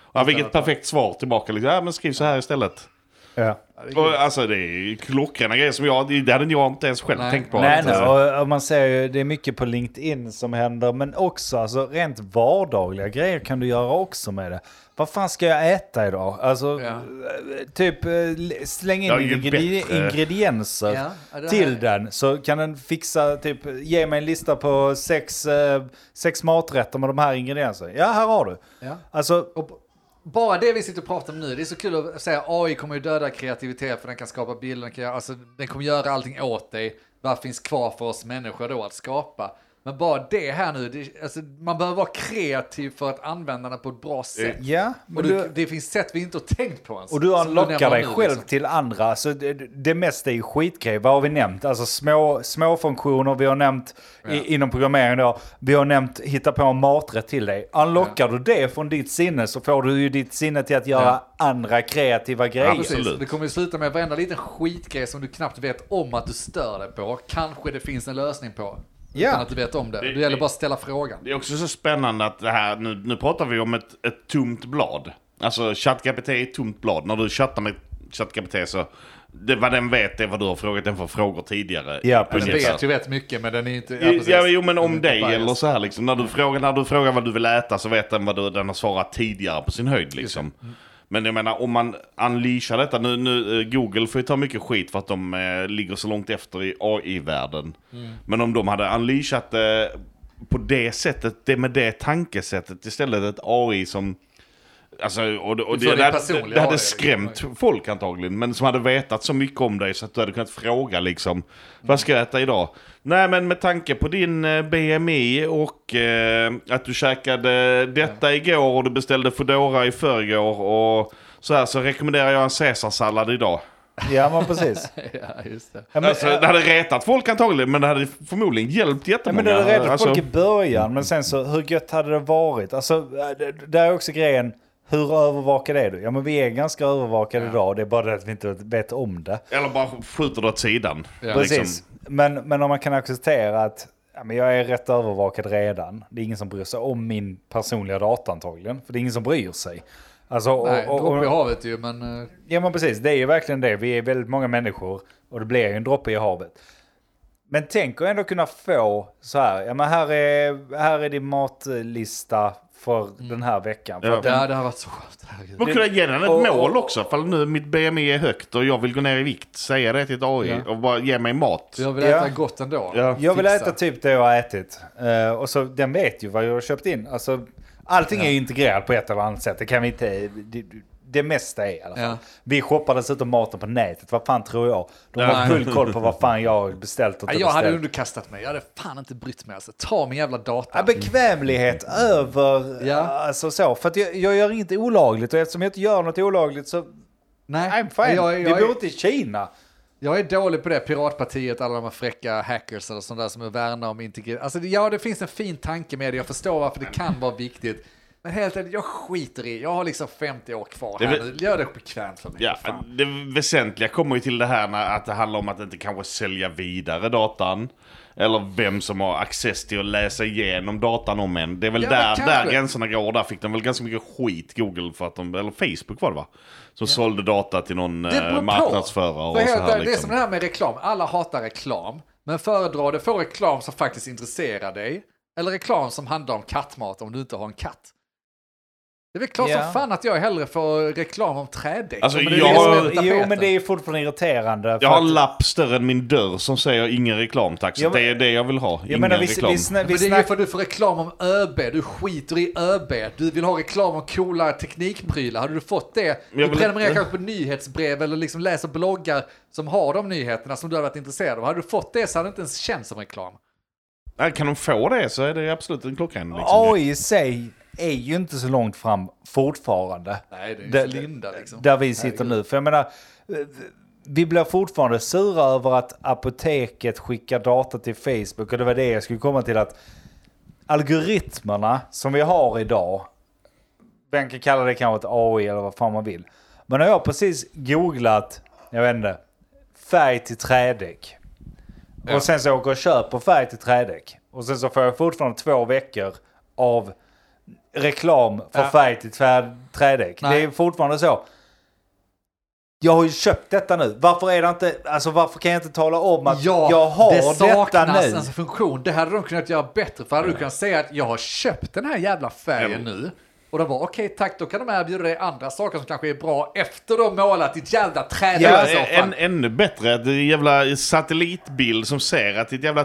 Och han fick ett perfekt svar tillbaka. Liksom, ja, men skriv så här istället.
ja.
Och, alltså det är ju klockrena grejer som jag, det hade jag inte ens själv
Nej.
tänkt på.
Nej,
Alltså.
nej. Och, och man ser ju, det är mycket på LinkedIn som händer, men också alltså, rent vardagliga grejer kan du göra också med det. Vad fan ska jag äta idag? Alltså,
Ja.
eh, typ eh, l- släng in
Ja, ju
ingre-
bättre.
ingredienser
Ja, ja, det här-
till den, så kan den fixa, typ, ge mig en lista på sex, eh, sex maträtter med de här ingredienserna. Ja, här har du.
Ja.
Alltså,
Och b- bara det vi sitter och pratar om nu, det är så kul att säga AI kommer ju döda kreativitet för den kan skapa bilder, den, kan, göra- alltså, den kommer göra allting åt dig. Vad finns kvar för oss människor då att skapa? Men bara det här nu, det, alltså, man behöver vara kreativ för att använda den på ett bra sätt.
ja.
Och
men
du, det finns sätt vi inte har tänkt på ens.
Och du
Som nämner
unlockar dig
nu,
själv
liksom.
till andra. Alltså, det, det mesta är ju skitgrejer. Vad har vi nämnt? Alltså små, små funktioner. Vi har nämnt i, inom programmering då. Vi har nämnt hitta på en maträtt till dig. Unlockar du det från ditt sinne så får du ju ditt sinne till att göra andra kreativa
Ja,
grejer.
precis.
Precis.
Absolut.
Det kommer ju sluta med varenda liten skitgrej som du knappt vet om att du stör dig på. Kanske det finns en lösning på.
Ja.
Utan att du vet om det. Det gäller bara att ställa frågan.
Det är också så spännande att det här, nu, nu pratar vi om ett, ett tomt blad. Alltså ChatGPT är ett tomt blad. När du chattar med ChatGPT så, det, vad den vet är vad du har frågat den för frågor tidigare.
Ja,
Den
precis.
Ungefär.
vet ju rätt mycket men den är inte...
Ja,
precis.
ja, jo men
Den är
om
inte
dig
biased.
eller så här liksom. När du, frågar, när du frågar vad du vill äta så vet den vad du, den har svarat tidigare på sin höjd liksom. Men jag menar om man unleashar detta, nu, nu eh, Google får ju ta mycket skit för att de eh, ligger så långt efter i AI-världen. Men om de hade unleashat det på det sättet, det med det tankesättet istället, ett AI som Alltså, och, det- och
Så
det,
din
det,
personliga
hade- det
AI,
hade skrämt folk antagligen, men som hade vetat så mycket om dig så att du hade kunnat fråga liksom, vad ska jag äta idag? Nej men med tanke på din eh, BMI och eh, att du käkade detta igår och du beställde Foodora i förrgår och så här så rekommenderar jag en caesarsallad idag.
Ja, men precis.
Ja, just det.
Ja, men, eh,
Alltså, det hade retat folk antagligen, men det hade förmodligen hjälpt
Ja,
jättemånga.
men det hade räddat
Alltså,
folk i början, men sen så hur gött hade det varit? Alltså, äh, det- där är också grejen, hur övervakad är du? Ja, men vi är ganska övervakade idag, det är bara det att vi inte vet om det.
Eller bara skjuter det åt sidan.
Ja.
liksom.
Precis. Men, men om man kan acceptera att ja, men jag är rätt övervakad redan. Det är ingen som bryr sig om min personliga data antagligen. För det är ingen som bryr sig. Alltså, och,
Nej,
och,
droppe i
och,
havet ju men... eh,
ja men precis, det är ju verkligen det. Vi är väldigt många människor och det blir ju en droppe i havet. Men tänk att ändå kunna få så här, ja men här är, här är din matlista för den här veckan. För
Ja.
att den-
Mm. Ja, det har varit så skönt. herregud.
Man kunde ge den ett
Och- och-
mål också, ifall nu mitt BMI är högt och jag vill gå ner i vikt. Säga det till ett AI
Ja.
och bara ge mig mat.
Jag vill
Ja.
äta gott ändå.
Ja.
Jag vill
Fixa.
äta typ det jag har ätit. Eh, och så den vet ju vad jag har köpt in. Alltså, allting är ju integrerat på ett eller annat sätt. Det kan vi inte... Det, det mesta är i alla fall.
Ja.
Vi shoppar dessutom maten på nätet. Vad fan tror jag? De har
Nej.
full koll på vad fan jag har beställt och
Ja,
inte
Jag hade
beställt.
underkastat mig. Jag hade fan inte brytt mig. Alltså. Ta min jävla data.
Ja, bekvämlighet över...
Ja.
Alltså så. För att jag, jag gör inget olagligt och eftersom jag inte gör något olagligt så...
Nej,
I'm fine.
Jag,
vi
jag,
bor
jag,
inte i Kina.
jag är dålig på det. Piratpartiet, alla de här fräcka hackers och sånt där som är värna om integritet. Alltså, det- ja, det finns en fin tanke med det. Jag förstår varför det kan vara viktigt. Men helt enkelt, jag skiter i. Jag har liksom 50 år kvar
Det är
här
väl-
nu. Gör det bekvämt för mig.
Ja, eh,
fan.
det väsentliga kommer ju till det här när, att det handlar om att inte kanske sälja vidare datan. Eller vem som har access till att läsa igenom datan om en. Det är väl
Ja, men
där,
kanske.
där gränserna går. Och där fick de väl ganska mycket skit, Google, för att de, eller Facebook var det va? Som sålde data till någon
Det beror
eh,
på.
marknadsförare och
För
så
helt
här
ärligt, Det är som det
liksom.
här med reklam. Alla hatar reklam. Men föredrar du att få reklam som faktiskt intresserar dig. Eller reklam som handlar om kattmat om du inte har en katt. Det är väl klart
Ja.
som fan att jag hellre får reklam om trädäck.
Alltså,
men
Det
det är
är
jag-
det som är
liksom- jo
tapeten.
men det är fortfarande irriterande. för
Jag har
att-
en lapp större än min dörr som säger ingen reklam tack. Så
Jag men-
det är det jag vill ha.
jag
Ingen
menar, vi,
reklam.
vi, snä, vi
Men det är ju
snack,
för att du får reklam om ÖB, du skiter i ÖB. Du vill ha reklam om coola teknikprylar. Hade du fått det,
vill
du prenumererar
inte.
kanske på nyhetsbrev eller liksom läser bloggar som har de nyheterna som du hade varit intresserad av. Hade du fått det så hade det inte ens känts som reklam.
Nej, kan de få det så är det absolut en klockren. Liksom.
AI i sig är ju inte så långt fram fortfarande.
Nej, det är ju
Där-
Linda liksom.
Där vi sitter nu. För jag menar, eh, vi blir fortfarande sura över att apoteket skickar data till Facebook. Och det var det jag skulle komma till att algoritmerna som vi har idag, vem kan kalla det kanske ett AI eller vad fan man vill. Men när jag precis googlat, jag vet inte, färg till trädäck.
Ja.
Och sen så åker jag och köper färg till trädäck. Och sen så får jag fortfarande två veckor av reklam för
Ja.
färg till tvär- trädäck.
Nej.
Det är fortfarande så. Jag har ju köpt detta nu. Varför är det inte, alltså varför kan jag inte tala om att
Ja,
jag har
det
detta
saknas Alltså,
nu?
en funktion. Det hade de kunnat göra bättre. För hade du kunnat säga att jag har köpt den här jävla färgen nu. Och de var okej tack, då kan de erbjuda dig andra saker som kanske är bra efter de målat ditt jävla trädäck.
Ja,
i så fall.
En, ännu bättre, det är en jävla satellitbild som ser att ditt jävla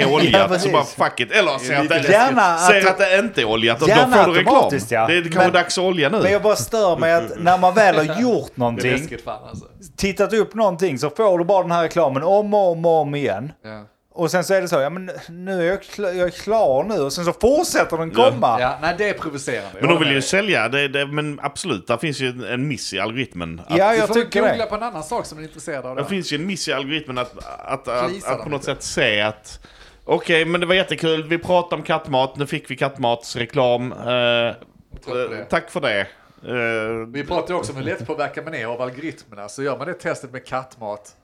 är oljat.
Ja, precis.
så bara fuck it. Eller ser att det,
Gärna att-
ser att det inte är oljat och då
Gärna
får du reklam.
automatiskt, ja.
Det är kanske
Men-
dags att olja nu.
Men jag bara stör mig att när man väl har gjort
Det är
någonting,
läskigt fan alltså.
tittat upp någonting så får du bara den här reklamen om och om, och om igen.
Ja.
Och sen så är det så, ja men nu är jag, kla- jag är klar nu och sen så fortsätter den komma.
Ja, nej det är provocerande.
Men de vill ju
Jag
sälja, det, det, men absolut, där finns ju en, en miss i algoritmen. Att,
Ja,
håller med.
jag
du får
tycker
väl googla
det.
på en annan sak som du är intresserad av.
Det
Då.
finns ju en miss i algoritmen att, att, att, att,
Please,
på något sätt se att okej, men det var jättekul, vi pratade om kattmat, nu fick vi kattmatsreklam. Eh,
på det.
eh, tack för det. Eh,
Vi pratade ju också om hur lättpåverkad man är av algoritmerna. Så gör man det testet med kattmat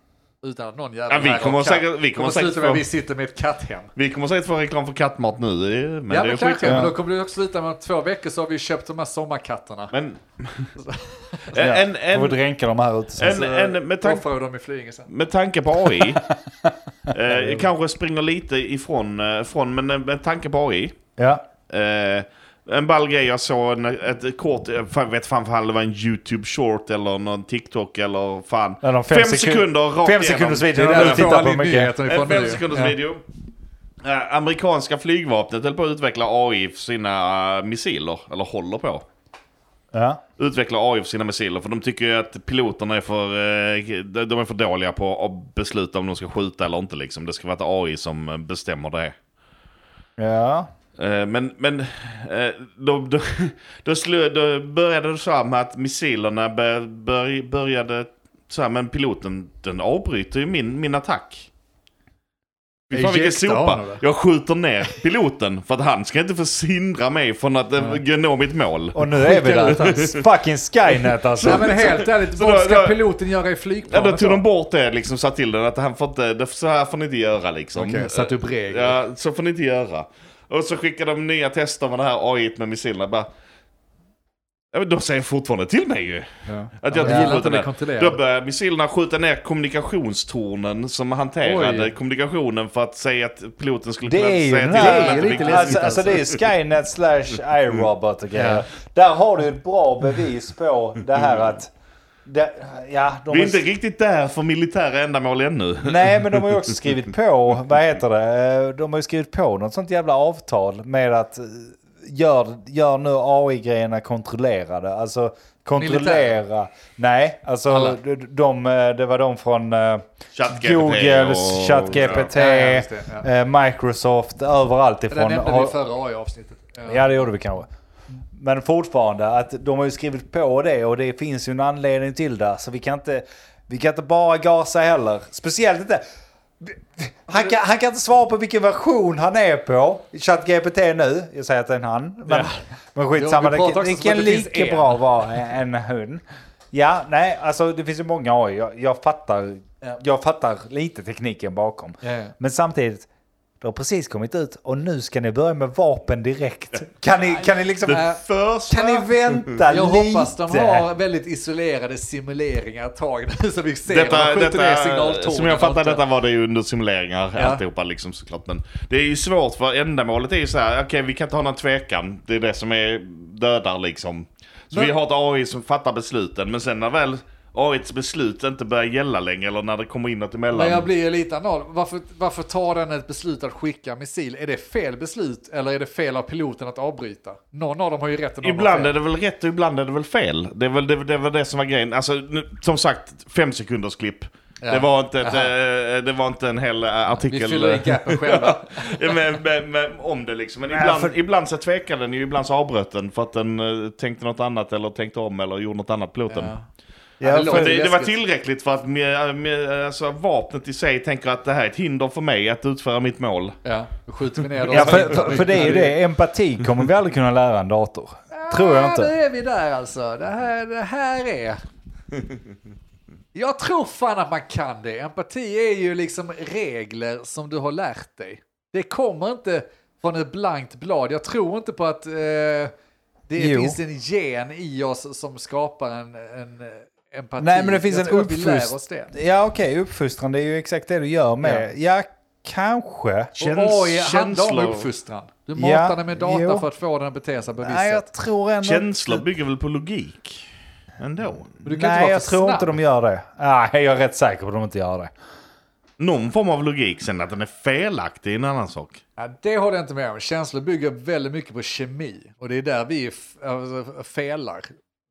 utan att någon jävla
Ja, vi
här har
kommer
katt,
säkert- vi kommer
sluta
säkert
med
få-
att vi sitter med ett katthem.
Vi kommer säkert få reklam för kattmat nu, eh, men
ja
det är
men kanske,
skitsamma.
men då kommer det också sluta med att två veckor så har vi köpt de här sommarkatterna.
Men... Eh, en,
Får
en,
dränka de här ute sen.
en, en, med, tank,
Offrar dem i Flyinge sen.
med tanke på AI, eh, jag kanske springer lite ifrån, eh, från, men eh, med tanke på AI.
Ja.
Eh, en ball grej jag såg, en, ett kort, eh, fan, jag vet fan fan det var en YouTube short eller någon TikTok eller fan.
Ja, de
fem, sekunder rakt
Fem
igenom.
sekunders
Det
video.
är
Det
där du
är
får
tittar
all
på mycket.
nyheter
En
ifrån
fem
nu.
sekunders
Ja.
video. Eh, amerikanska flygvapnet höll på att utveckla AI för sina eh, missiler, eller håller på.
Ja.
utveckla AI för sina missiler. För de tycker ju att piloterna är för, eh, de de är för dåliga på att besluta om de ska skjuta eller inte. Liksom. Det ska vara ett AI som bestämmer det.
Ja.
Eh, Men, men eh, då, då, då, slö, då började det så här med att missilerna bör, bör, började så här, men piloten den avbryter ju min, min attack. Fy Fan vilken
Ejekta
sopa.
honom, va?
Jag skjuter ner piloten för att han ska inte få hindra mig från att eh, nå mitt mål.
Och nu är vi
Skicka
där. Fucking Skynet
Nej
alltså.
men helt ärligt,
Så
vad
då-
ska
då-
piloten göra i
Ja, då
flygplanet
tog de bort det liksom, sa till den att han får inte, det, så här får ni inte göra liksom.
Okej, satt upp regler.
Ja, så får ni inte göra. Och så skickade de nya tester med det här AI med missilerna. Bara, ja, men de säger fortfarande till mig ju. Att jag
de gillar inte
får
att bli
skjuta ner.
kontrollerade.
Då började missilerna skjuta ner kommunikationstornen som hanterade
Oj.
kommunikationen för att säga att piloten skulle
Det
kunna
är ju
säga
den
till den
här,
att
ju
det
lite
blir-
läskigt
alltså, alltså det är Skynet slash iRobot och grejer. Där har du ett bra bevis på det här att... Det, ja, de
Vi
har-
är inte riktigt där för militära ändamål ännu.
Nej, men de har ju också skrivit på, vad heter det, Eh, de har ju skrivit på något sånt jävla avtal med att eh, gör, gör nu AI-grejerna kontrollerade. Alltså kontrollera. Nej, alltså
Alla.
de, de, eh, det var de från eh,
ChatGPT
Google,
och-
ChatGPT,
Ja, ja, just det, ja.
eh, Microsoft, överallt
Det där
ifrån.
nämnde vi
har-
i förra AI-avsnittet. Ja.
Ja, det gjorde vi kanske. Men fortfarande, att de har ju skrivit på det och det finns ju en anledning till det. Så vi kan inte, vi kan inte bara gasa heller. Speciellt inte... Han kan, han kan inte svara på vilken version han är på. ChatGPT nu. Jag säger att det är en han. Men,
Ja.
men skitsamma.
Jo, vi pratar
det, kan-
också
det
som att
kan
det finns
lika
en.
bra vara en hund. Ja, nej, alltså det finns ju många AI. Jag, jag, fattar,
Ja.
jag fattar lite tekniken bakom.
Ja, ja.
Men samtidigt, det har precis kommit ut och nu ska ni börja med vapen direkt. Kan ni, kan ni liksom...
Nej.
Först
Kan ni vänta
Jag
lite?
hoppas de har väldigt isolerade simuleringar ett tag nu så vi ser
Detta,
om de skjuter ner
detta,
signaltornen
som jag
och
fattar
allt det.
detta var det ju under simuleringar
Ja.
alltihopa liksom såklart. Men det är ju svårt för ändamålet är ju så här, okej vi kan inte ha någon tvekan. Det är det som är dödar liksom. Så
Men-
vi har ett AI som fattar besluten men sen när väl AIs beslut inte börjar gälla längre eller när det kommer in något emellan.
Men jag blir ju lite anal. Varför, varför tar den ett beslut att skicka missil? Är det fel beslut eller är det fel av piloten att avbryta? Någon av dem har ju rätt. och någon har
Ibland
fel.
är det väl rätt och ibland är det väl fel. Det var det, det, var det som var grejen. Alltså, nu, som sagt, fem sekunders klipp.
Ja.
Det, var inte ett,
Aha.
eh, det var inte en hel eh,
Vi
artikel.
fyller i gapen själva.
Ja, men- men- men om det liksom. Men
Nej,
ibland,
för-
ibland så tvekade den ju, ibland så avbröt den för att den eh, tänkte något annat eller tänkte om eller gjorde något annat piloten.
Ja.
Ja,
det
för-
Men det, det var
Läskigt.
tillräckligt för att med, med, alltså, vapnet i sig tänker att det här är ett hinder för mig att utföra mitt mål.
Ja, då skjuter vi ner dem.
Ja, för, för, för det är ju det. Empati kommer vi aldrig kunna lära en dator. Tror jag
Ja,
inte.
nu är vi där alltså. Det här, det här är... Jag tror fan att man kan det. Empati är ju liksom regler som du har lärt dig. Det kommer inte från ett blankt blad. Jag tror inte på att eh, det
Jo.
finns en gen i oss som skapar en, en eh, empati.
Nej, men det finns
jag
en
tror att vi lär oss
uppfust-
det.
Ja, okej. Uppfostran, det är ju exakt det du gör med. Ja, kanske.
Och AI handlar om
känslor-
uppfostran. Du matar
Ja,
den med data
jo.
för att få den att bete sig på ett visst
Nej,
sätt.
jag tror ändå
Känslor
inte...
bygger väl på logik? Ändå.
Men du kan
Nej,
inte vara
jag
för
tror
snabb.
inte de gör det. Nej, Ah, jag är rätt säker på att de inte gör det.
Någon form av logik. Sen att den är felaktig är en annan sak.
Ja, det håller jag inte med om. Känslor bygger väldigt mycket på kemi. Och det är där vi f- alltså, felar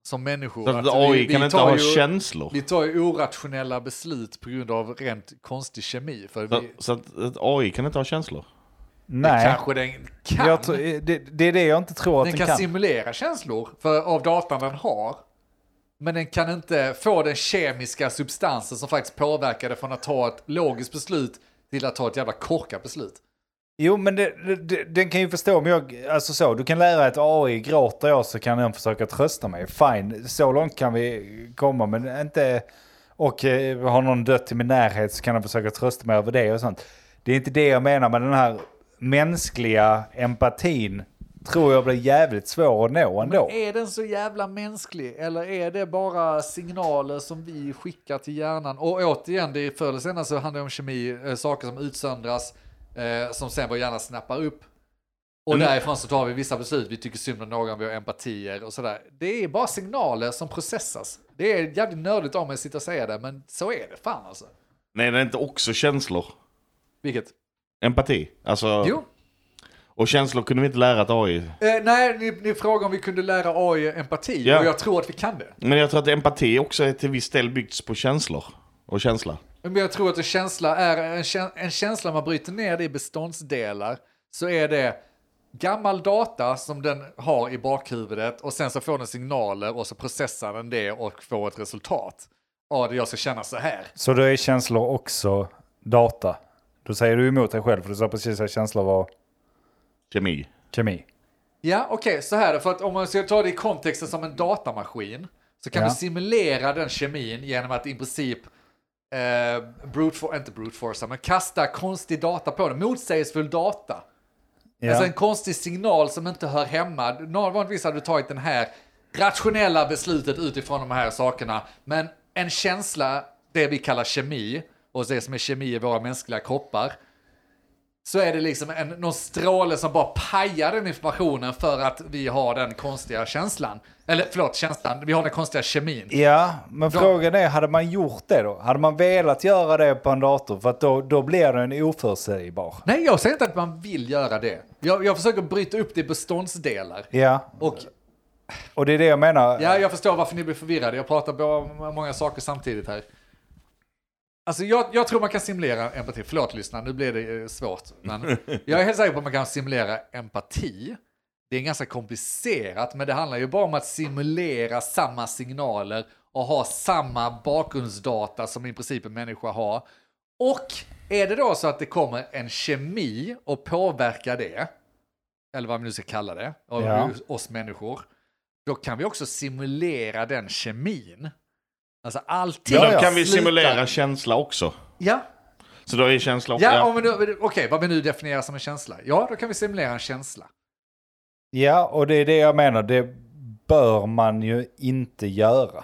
som människor.
Så att
Att
AI kan inte
Alltså, tar
ha
ju,
känslor.
Vi tar ju orationella beslut på grund av rent konstig kemi. För
Så,
vi,
så att att AI kan inte ha känslor.
Nej.
kanske den kan.
Jag tror, det, det är det jag inte tror att
den
den,
kan,
kan.
simulera känslor för, av datan den har. Men den kan inte få den kemiska substansen som faktiskt påverkar det från att ta ett logiskt beslut till att ta ett jävla korkat beslut.
Jo, men det, det- det, den kan ju förstå om jag... Alltså så, du kan lära ett AI, gråter jag så kan den försöka trösta mig. Fine, så långt kan vi komma, men inte... Och eh, har någon dött i min närhet så kan den försöka trösta mig över det och sånt. Det är inte det jag menar, men den här mänskliga empatin tror jag blir jävligt svår att nå ändå.
Är den så jävla mänsklig eller är det bara signaler som vi skickar till hjärnan? Och återigen, det är förr eller senare så handlar det om kemi, eh, saker som utsöndras, eh, som sen vår hjärna snappar upp. Och
Men-
därifrån så tar vi vissa beslut, vi tycker synd om någon, vi har empatier och sådär. Det är bara signaler som processas. Det är jävligt nördigt av mig att sitta och säga det, men så är det fan alltså.
Nej, det är inte också känslor.
Vilket?
Empati. Alltså,
Jo.
Och känslor kunde vi inte lära ett AI.
Eh, nej, ni, ni frågade om vi kunde lära AI empati
Ja.
och jag tror att vi kan det.
Men jag tror att empati också är till viss del byggts på känslor. Och känsla.
Men jag tror att en känsla är en, kä- en känsla man bryter ner det i beståndsdelar så är det gammal data som den har i bakhuvudet och sen så får den signaler och så processar den det och får ett resultat. Ja, det jag ska känna så här.
Så då är känslor också data. Då säger du emot dig själv, för du sa precis att känslor var
Kemi.
kemi.
Ja, okej, så här är det. För att om man ska ta det i kontexten som en datamaskin så kan
Ja.
vi simulera den kemin genom att i princip eh, brute for, inte brute force, men kasta konstig data på den, motsägelsefull data.
Ja.
Alltså en konstig signal som inte hör hemma. Någon- Vanligtvis hade du tagit den här rationella beslutet utifrån de här sakerna. Men en känsla, det vi kallar kemi, och det som är kemi i våra mänskliga kroppar, så är det liksom en, någon stråle som bara pajar den informationen för att vi har den konstiga känslan. Eller förlåt, känslan, vi har den konstiga kemin.
Ja, men
Då-
frågan är, hade man gjort det då? Hade man velat göra det på en dator? För att då, då blir den oförutsägbar.
Nej, jag säger inte att man vill göra det. Jag, jag försöker bryta upp det i beståndsdelar.
Ja,
Och
och det är det jag menar.
Ja, jag förstår varför ni blir förvirrade. Jag pratar bara om många saker samtidigt här. Alltså jag, jag tror man kan simulera empati. Förlåt lyssna, nu blev det eh, svårt. Men jag är helt säker på att man kan simulera empati. Det är ganska komplicerat, men det handlar ju bara om att simulera samma signaler och ha samma bakgrundsdata som i princip en människa har. Och är det då så att det kommer en kemi och påverkar det, eller vad vi nu ska kalla det, av
Ja.
oss människor, då kan vi också simulera den kemin. Alltså allting
Ja,
Då kan vi
slutar-
simulera känsla också.
Ja,
Så då är känsla också...
ja, om vi nu- okej, vad vi nu definierar som en känsla. Ja, då kan vi simulera en känsla.
Ja, och det är det jag menar. Det bör man ju inte göra.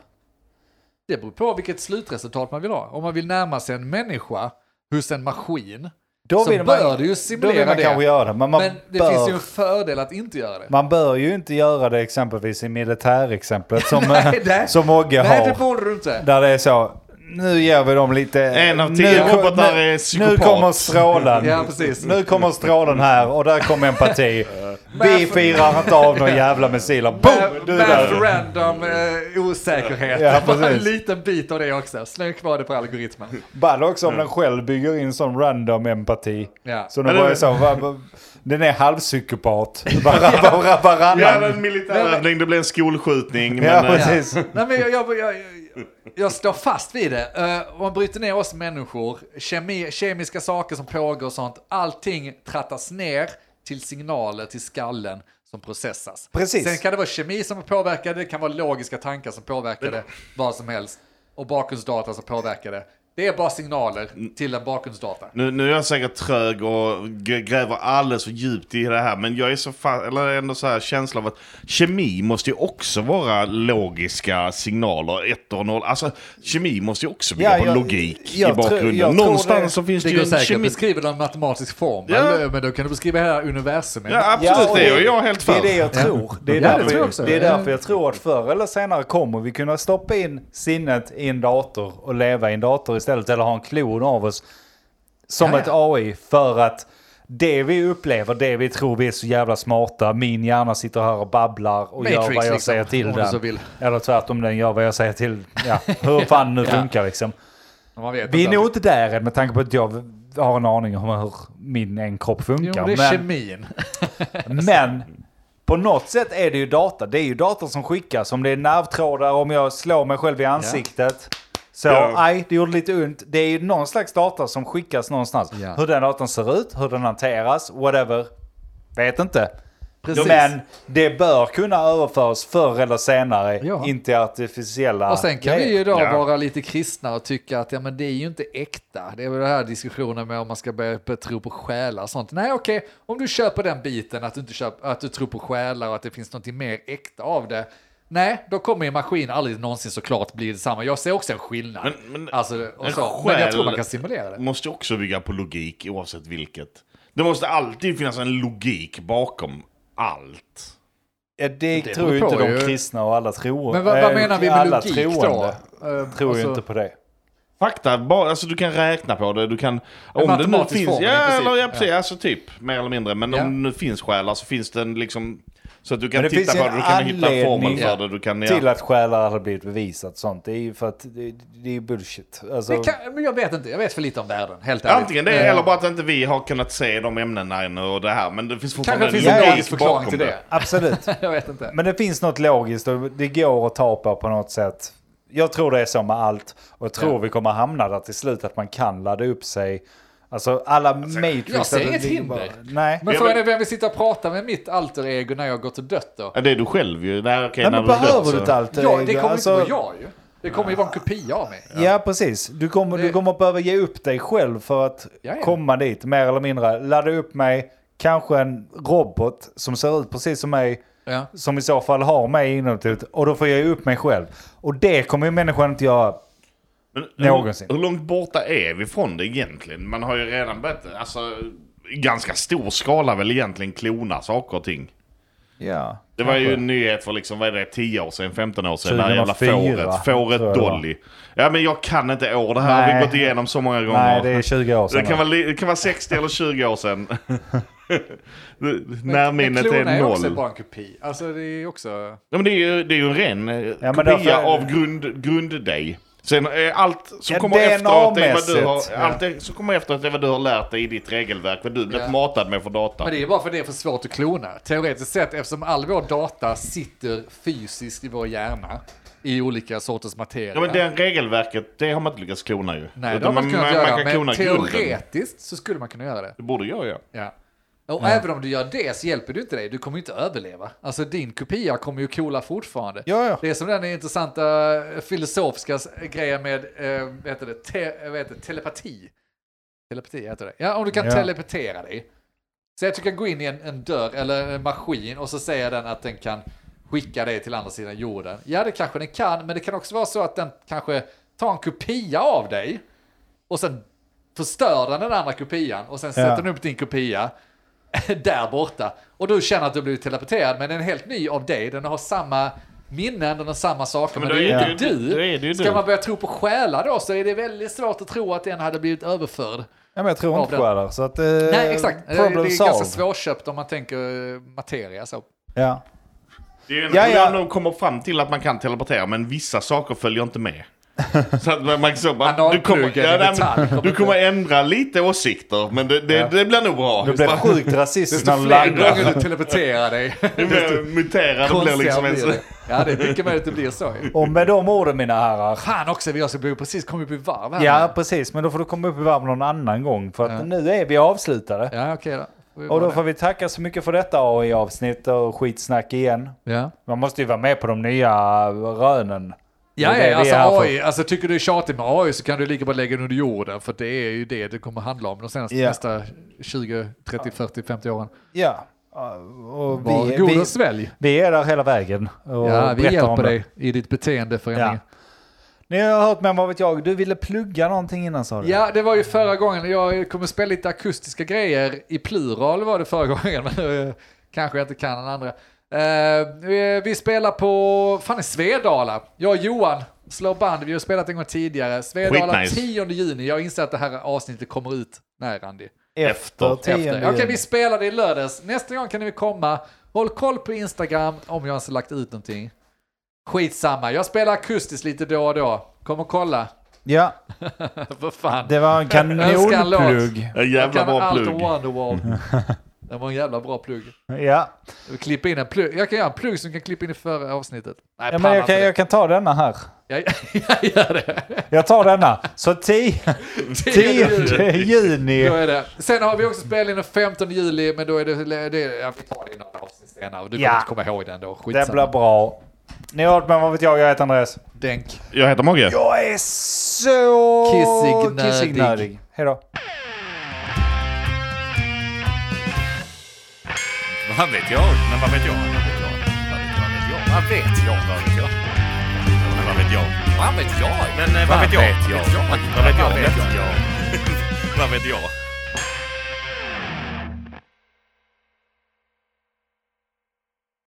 Det beror på vilket slutresultat man vill ha. Om man vill närma sig en människa hos en maskin,
Då
Så bör du ju simulera
då vill man
det.
kanske göra det. Men, man,
men det
bör,
finns ju en fördel att inte göra det.
man bör ju inte göra det exempelvis i militärexemplet som,
Nej, nej.
som Mogge
Nej, det
har.
borde du inte.
där det är så. Nu ger vi dem lite...
En av
nu
tio
ko-
robotar
nu-
är
Nu
psykopat.
kommer strålen.
Ja, precis.
Nu kommer strålen här och där kommer empati. Vi
Varför-
firar inte av några jävla missiler. Boom! Du är
Eh,
där.
Math random eh, osäkerhet.
Ja,
Bara en
precis.
liten bit av det också. Släng kvar det på algoritmen.
Ball också om den själv bygger in sån random empati.
Ja.
Så den bara är så, va, va, den är halvpsykopat. Var, var,
Ja,
varannan.
en militärövning, det blir en skolskjutning.
Ja,
Men, eh,
precis.
Nej, men jag, jag, jag, jag står fast vid det. Eh, om man bryter ner oss människor, kemi, kemiska saker som pågår och sånt, allting trattas ner till signaler till skallen som processas.
Precis.
Sen kan det vara kemi som påverkar det, det kan vara logiska tankar som påverkar det, vad som helst. Och bakgrundsdata som påverkar det. Det är bara signaler till en bakgrundsdata.
Nu, nu är jag säkert trög och g- gräver alldeles för djupt i det här. Men jag är så fa- eller ändå så här känsla av att kemi måste ju också vara logiska signaler. Ett och noll. Alltså kemi måste ju också bygga
Ja,
på
jag-
logik
jag
i
tror-
bakgrunden.
jag tror
Någonstans
det-
så finns det,
Det
ju
går
en
säkert att
kemi.
beskriva det i en matematisk form,
Ja.
men då kan du beskriva hela universumet.
Ja, absolut.
Ja,
det är
och
ju jag helt för.
Det är det jag tror. Det är,
Ja, det
därför,
tror jag också.
det är
Ja.
därför jag tror att förr eller senare kommer vi kunna stoppa in sinnet i en dator och leva i en dator istället. Eller ha en klon av oss som
Ja, ja.
ett AI. För att det vi upplever, det vi tror vi är så jävla smarta. Min hjärna sitter här och babblar och gör vad
Matrix,
jag
liksom,
säger till
om du så
den.
vill.
Eller tvärtom, den gör vad jag säger till. Ja, hur fan nu
Ja.
funkar liksom.
Man vet
Vi är
inte.
nog inte där än med tanke på att jag har en aning om hur min en kropp
Jo,
funkar.
det är
men-
kemin.
men på något sätt är det ju data. Det är ju data som skickas. Om det är nervtrådar, om jag slår mig själv i ansiktet. Så,
Ja.
aj, det gjorde lite ont. Det är ju någon slags data som skickas någonstans.
Ja.
Hur den datan ser ut, hur den hanteras, whatever. Vet inte.
Precis.
Men det bör kunna överföras förr eller senare
Ja.
in till artificiella
Och sen kan vi ju
grejer.
då
Ja.
vara lite kristna och tycka att ja, men det är ju inte äkta. Det är väl den här diskussionen med om man ska börja börja tro på själar och sånt. Nej, okej, om du köper den biten att du, inte köp, att du tror på själar och att det finns något mer äkta av det. Nej, då kommer ju maskin aldrig någonsin såklart bli detsamma. Jag ser också en skillnad.
Men- men-
alltså, och
en
så. men jag
själ-
tror man kan simulera det.
måste också bygga på logik oavsett vilket. Det måste alltid finnas en logik bakom allt.
Ja, det,
beror
tror ju inte
på
de
ju.
kristna och alla tror.
Men vad,
eh,
vad menar vi med
alla
logik
troende
då? Eh,
Tror ju
alltså-
inte på det.
Fakta, bara, alltså du kan räkna på det, du kan... Om det nu
matematisk
finns,
formel i
ja,
princip.
eller, ja, precis, alltså typ, mer eller mindre. Men
Ja.
om det nu finns själar så finns den liksom... Så att du
Men
kan
det
titta
finns
på
ju
det, du
en
kan hitta en formel
anledning,
ja,
för det, du kan... Ja.
till att själar hade blivit bevisat sånt. Det är ju för att det, det är bullshit. Alltså,
Det kan, men jag vet inte, jag vet för lite om världen, helt ärligt.
Antingen det, eller bara att inte vi har kunnat se de ämnena ännu och det här. Men det finns
Kanske
fortfarande
det finns
Ja,
en
ja.
logisk förklaring till det.
Absolut.
jag vet inte.
Men det finns något logiskt och det går att ta på på något sätt. Jag tror det är så med allt och jag tror
Ja.
vi kommer hamna där till slut att man kan ladda upp sig. Alltså alla Matrix...
jag ser
att det
inget
ligger
hinder.
nej.
Men
Ja,
frågan
men-
är vem vill sitta och prata med mitt alter ego när jag går till dött då?
Ja, det är du själv ju. Nej, okej,
nej
när
men
du är död
behöver
så-
du inte allt alltså-
Ja, det kommer
alltså-
inte vara jag ju. Det kommer ju vara en kopia av mig.
Ja. precis. Du kommer, du
Det-
kommer behöva ge upp dig själv för att
Ja, ja.
komma dit, mer eller mindre. Ladda upp mig, kanske en robot som ser ut precis som mig,
Ja.
som i så fall har mig inuti och då får jag ge upp mig själv. Och det kommer ju människan inte göra.
Men,
Någonsin.
Hur, hur långt borta är vi från det egentligen? Man har ju redan börjat, alltså, i ganska stor skala väl egentligen klona saker och ting.
Ja.
Det var ju en nyhet för liksom, vad är det, 10 år sedan, 15 år sedan,
2004,
när jävla fåret, fåret
tror jag det var.
Dolly. Ja men jag kan inte år, det här har
Nej.
vi gått igenom så många gånger.
Nej, det är 20 år sedan.
det, kan vara, li- det kan vara 60 eller 20 år sedan.
Men
Närminnet
klona
är
också
noll.
bara en kopia. Alltså det är också...
Ja, men det är ju, det är ju en ren eh,
men
kopia
därför-
av grund, grunddig. Sen eh, allt som
Ja,
kommer efteråt är vad du har,
DNA-mässigt, ja.
allt det, som kommer efteråt är vad du har lärt dig i ditt regelverk, vad du blivit
Ja.
matad med för data.
Men det är bara för det är för svårt att klona. Teoretiskt sett, eftersom all vår data sitter fysiskt i vår hjärna, i olika sorters materia.
Ja, men det regelverket, det har man inte lyckats klona ju.
Nej,
Utan
det har man inte kunnat göra,
kan
men
klona grunden.
teoretiskt så skulle man kunna göra det.
Det borde jag göra.
Ja. Och även om du gör det så hjälper du inte dig, du kommer ju inte överleva. Alltså din kopia kommer ju coola fortfarande.
Ja, ja.
Det är som den intressanta eh, filosofiska s- grejen med eh, vad heter det, te, eh, vad heter det, telepati. Telepati heter det. Ja, om du kan
Ja.
telepatera dig. Säg att du kan gå in i en, en dörr eller en maskin och så säger den att den kan skicka dig till andra sidan jorden. Ja, det kanske den kan, men det kan också vara så att den kanske tar en kopia av dig och sen förstör den den andra kopian och sen sätter den upp din kopia där borta. Och du känner att du blivit teleporterad men den är helt ny av dig. Den har samma minnen, den har samma saker men,
men
det
då
är
är
ju inte
det ju-
du.
då är det ju
Ska
du.
man börja tro på själar då så är det väldigt svårt att tro att den hade blivit överförd.
Ja, men jag tror inte
Av den.
själar. Så att, eh,
Nej exakt, det är, det
problem
är ganska
solved.
svårköpt om man tänker eh, materia så.
Ja.
Det är ju
Ja,
ja,
ja.
de kommer fram till att man kan teleportera, men vissa saker följer inte med. Så att man- man så bara, du
Analpluggen
kommer,
i
ja, nej,
detalj
men,
kommer
du
inte-
kommer ändra lite åsikter, men det, det, det blir nog bra.
Det blir sjukt rasistiskt när
Desto
de
fler
landar.
gånger du teleporterar dig,
Det blir muterad och blir
konstigare
liksom
blir
ens...
det. Ja det är mycket möjligt att det blir så ju.
Och med de orden mina herrar.
Fan också, vi har så precis kommit upp i varv här.
Ja, precis. Men då får du komma upp i varv någon annan gång. För att nu är vi avslutade.
ja okej då. Får vi
Och då
vara
får vi tacka så mycket för detta AI-avsnitt och skitsnack igen.
det. Ja.
Man måste ju vara med på de nya rönen. Det
Ja,
är det vi
ja
är
alltså,
här för.
AI, alltså tycker du är tjatigt med AI så kan du lika bra lägga den under jorden för det är ju det det kommer handla om de senaste,
Ja.
nästa 20, 30, 40, 50 åren.
Ja. Och
Var
vi,
god
vi,
och svälj.
vi är där hela vägen. Och
Ja, vi
berättar
hjälper
om det.
dig i ditt beteendeförändring.
Ja. Ni har hört med mig, vad vet jag. Du ville plugga någonting innan sa du?
Ja, det var ju förra gången. Jag kommer spela lite akustiska grejer i plural var det förra gången. men, eh, Kanske jag inte kan den andra. Eh, vi- vi spelar på, fan i Svedala. Jag och Johan slår band, vi har spelat en gång tidigare. Svedala
Skitnice.
10 juni, jag inser att det här avsnittet kommer ut. Nej, Randy.
Efter
Efter.
tionde
Efter. Okej,
juni.
vi spelade i lördags. Nästa gång kan ni väl komma. Håll koll på Instagram om jag ens har lagt ut någonting. Skitsamma, jag spelar akustiskt lite då och då. Kom och kolla.
Ja,
Vad fan.
det var en
Önska en låt.
kanonplugg.
En
Jag
jävla
kan
bra
allt
plugg.
om Wonderwall. Det var en jävla bra plugg.
Ja.
Jag vill Klippa in en plugg. Jag kan göra en plugg som kan klippa in i förra avsnittet. Nej,
Ja, men
panna
jag, kan,
för
jag kan ta denna här.
det. Jag, jag gör det.
Jag tar denna. Så 10
Då
juni.
är det. Sen har vi också spelning den 15 juli, men då är det... det jag får ta det i några avsnitt senare. Du
Ja.
kommer inte komma ihåg den då.
Det blir
Skitsamma.
bra. Ni har hört med mig, vad vet jag. Jag heter Andreas.
Denk.
Jag heter Mogge.
Jag är så
Kissingnödig.
kissingnödig. Hej då.
Vad vet jag? Men vad vet jag? Vad vet jag? Vad vet jag? Vad vet jag? Men vad vet jag? Vad vet jag? Men eh, vad vet jag? Vad vet jag? Vad vet jag? Vad vet jag?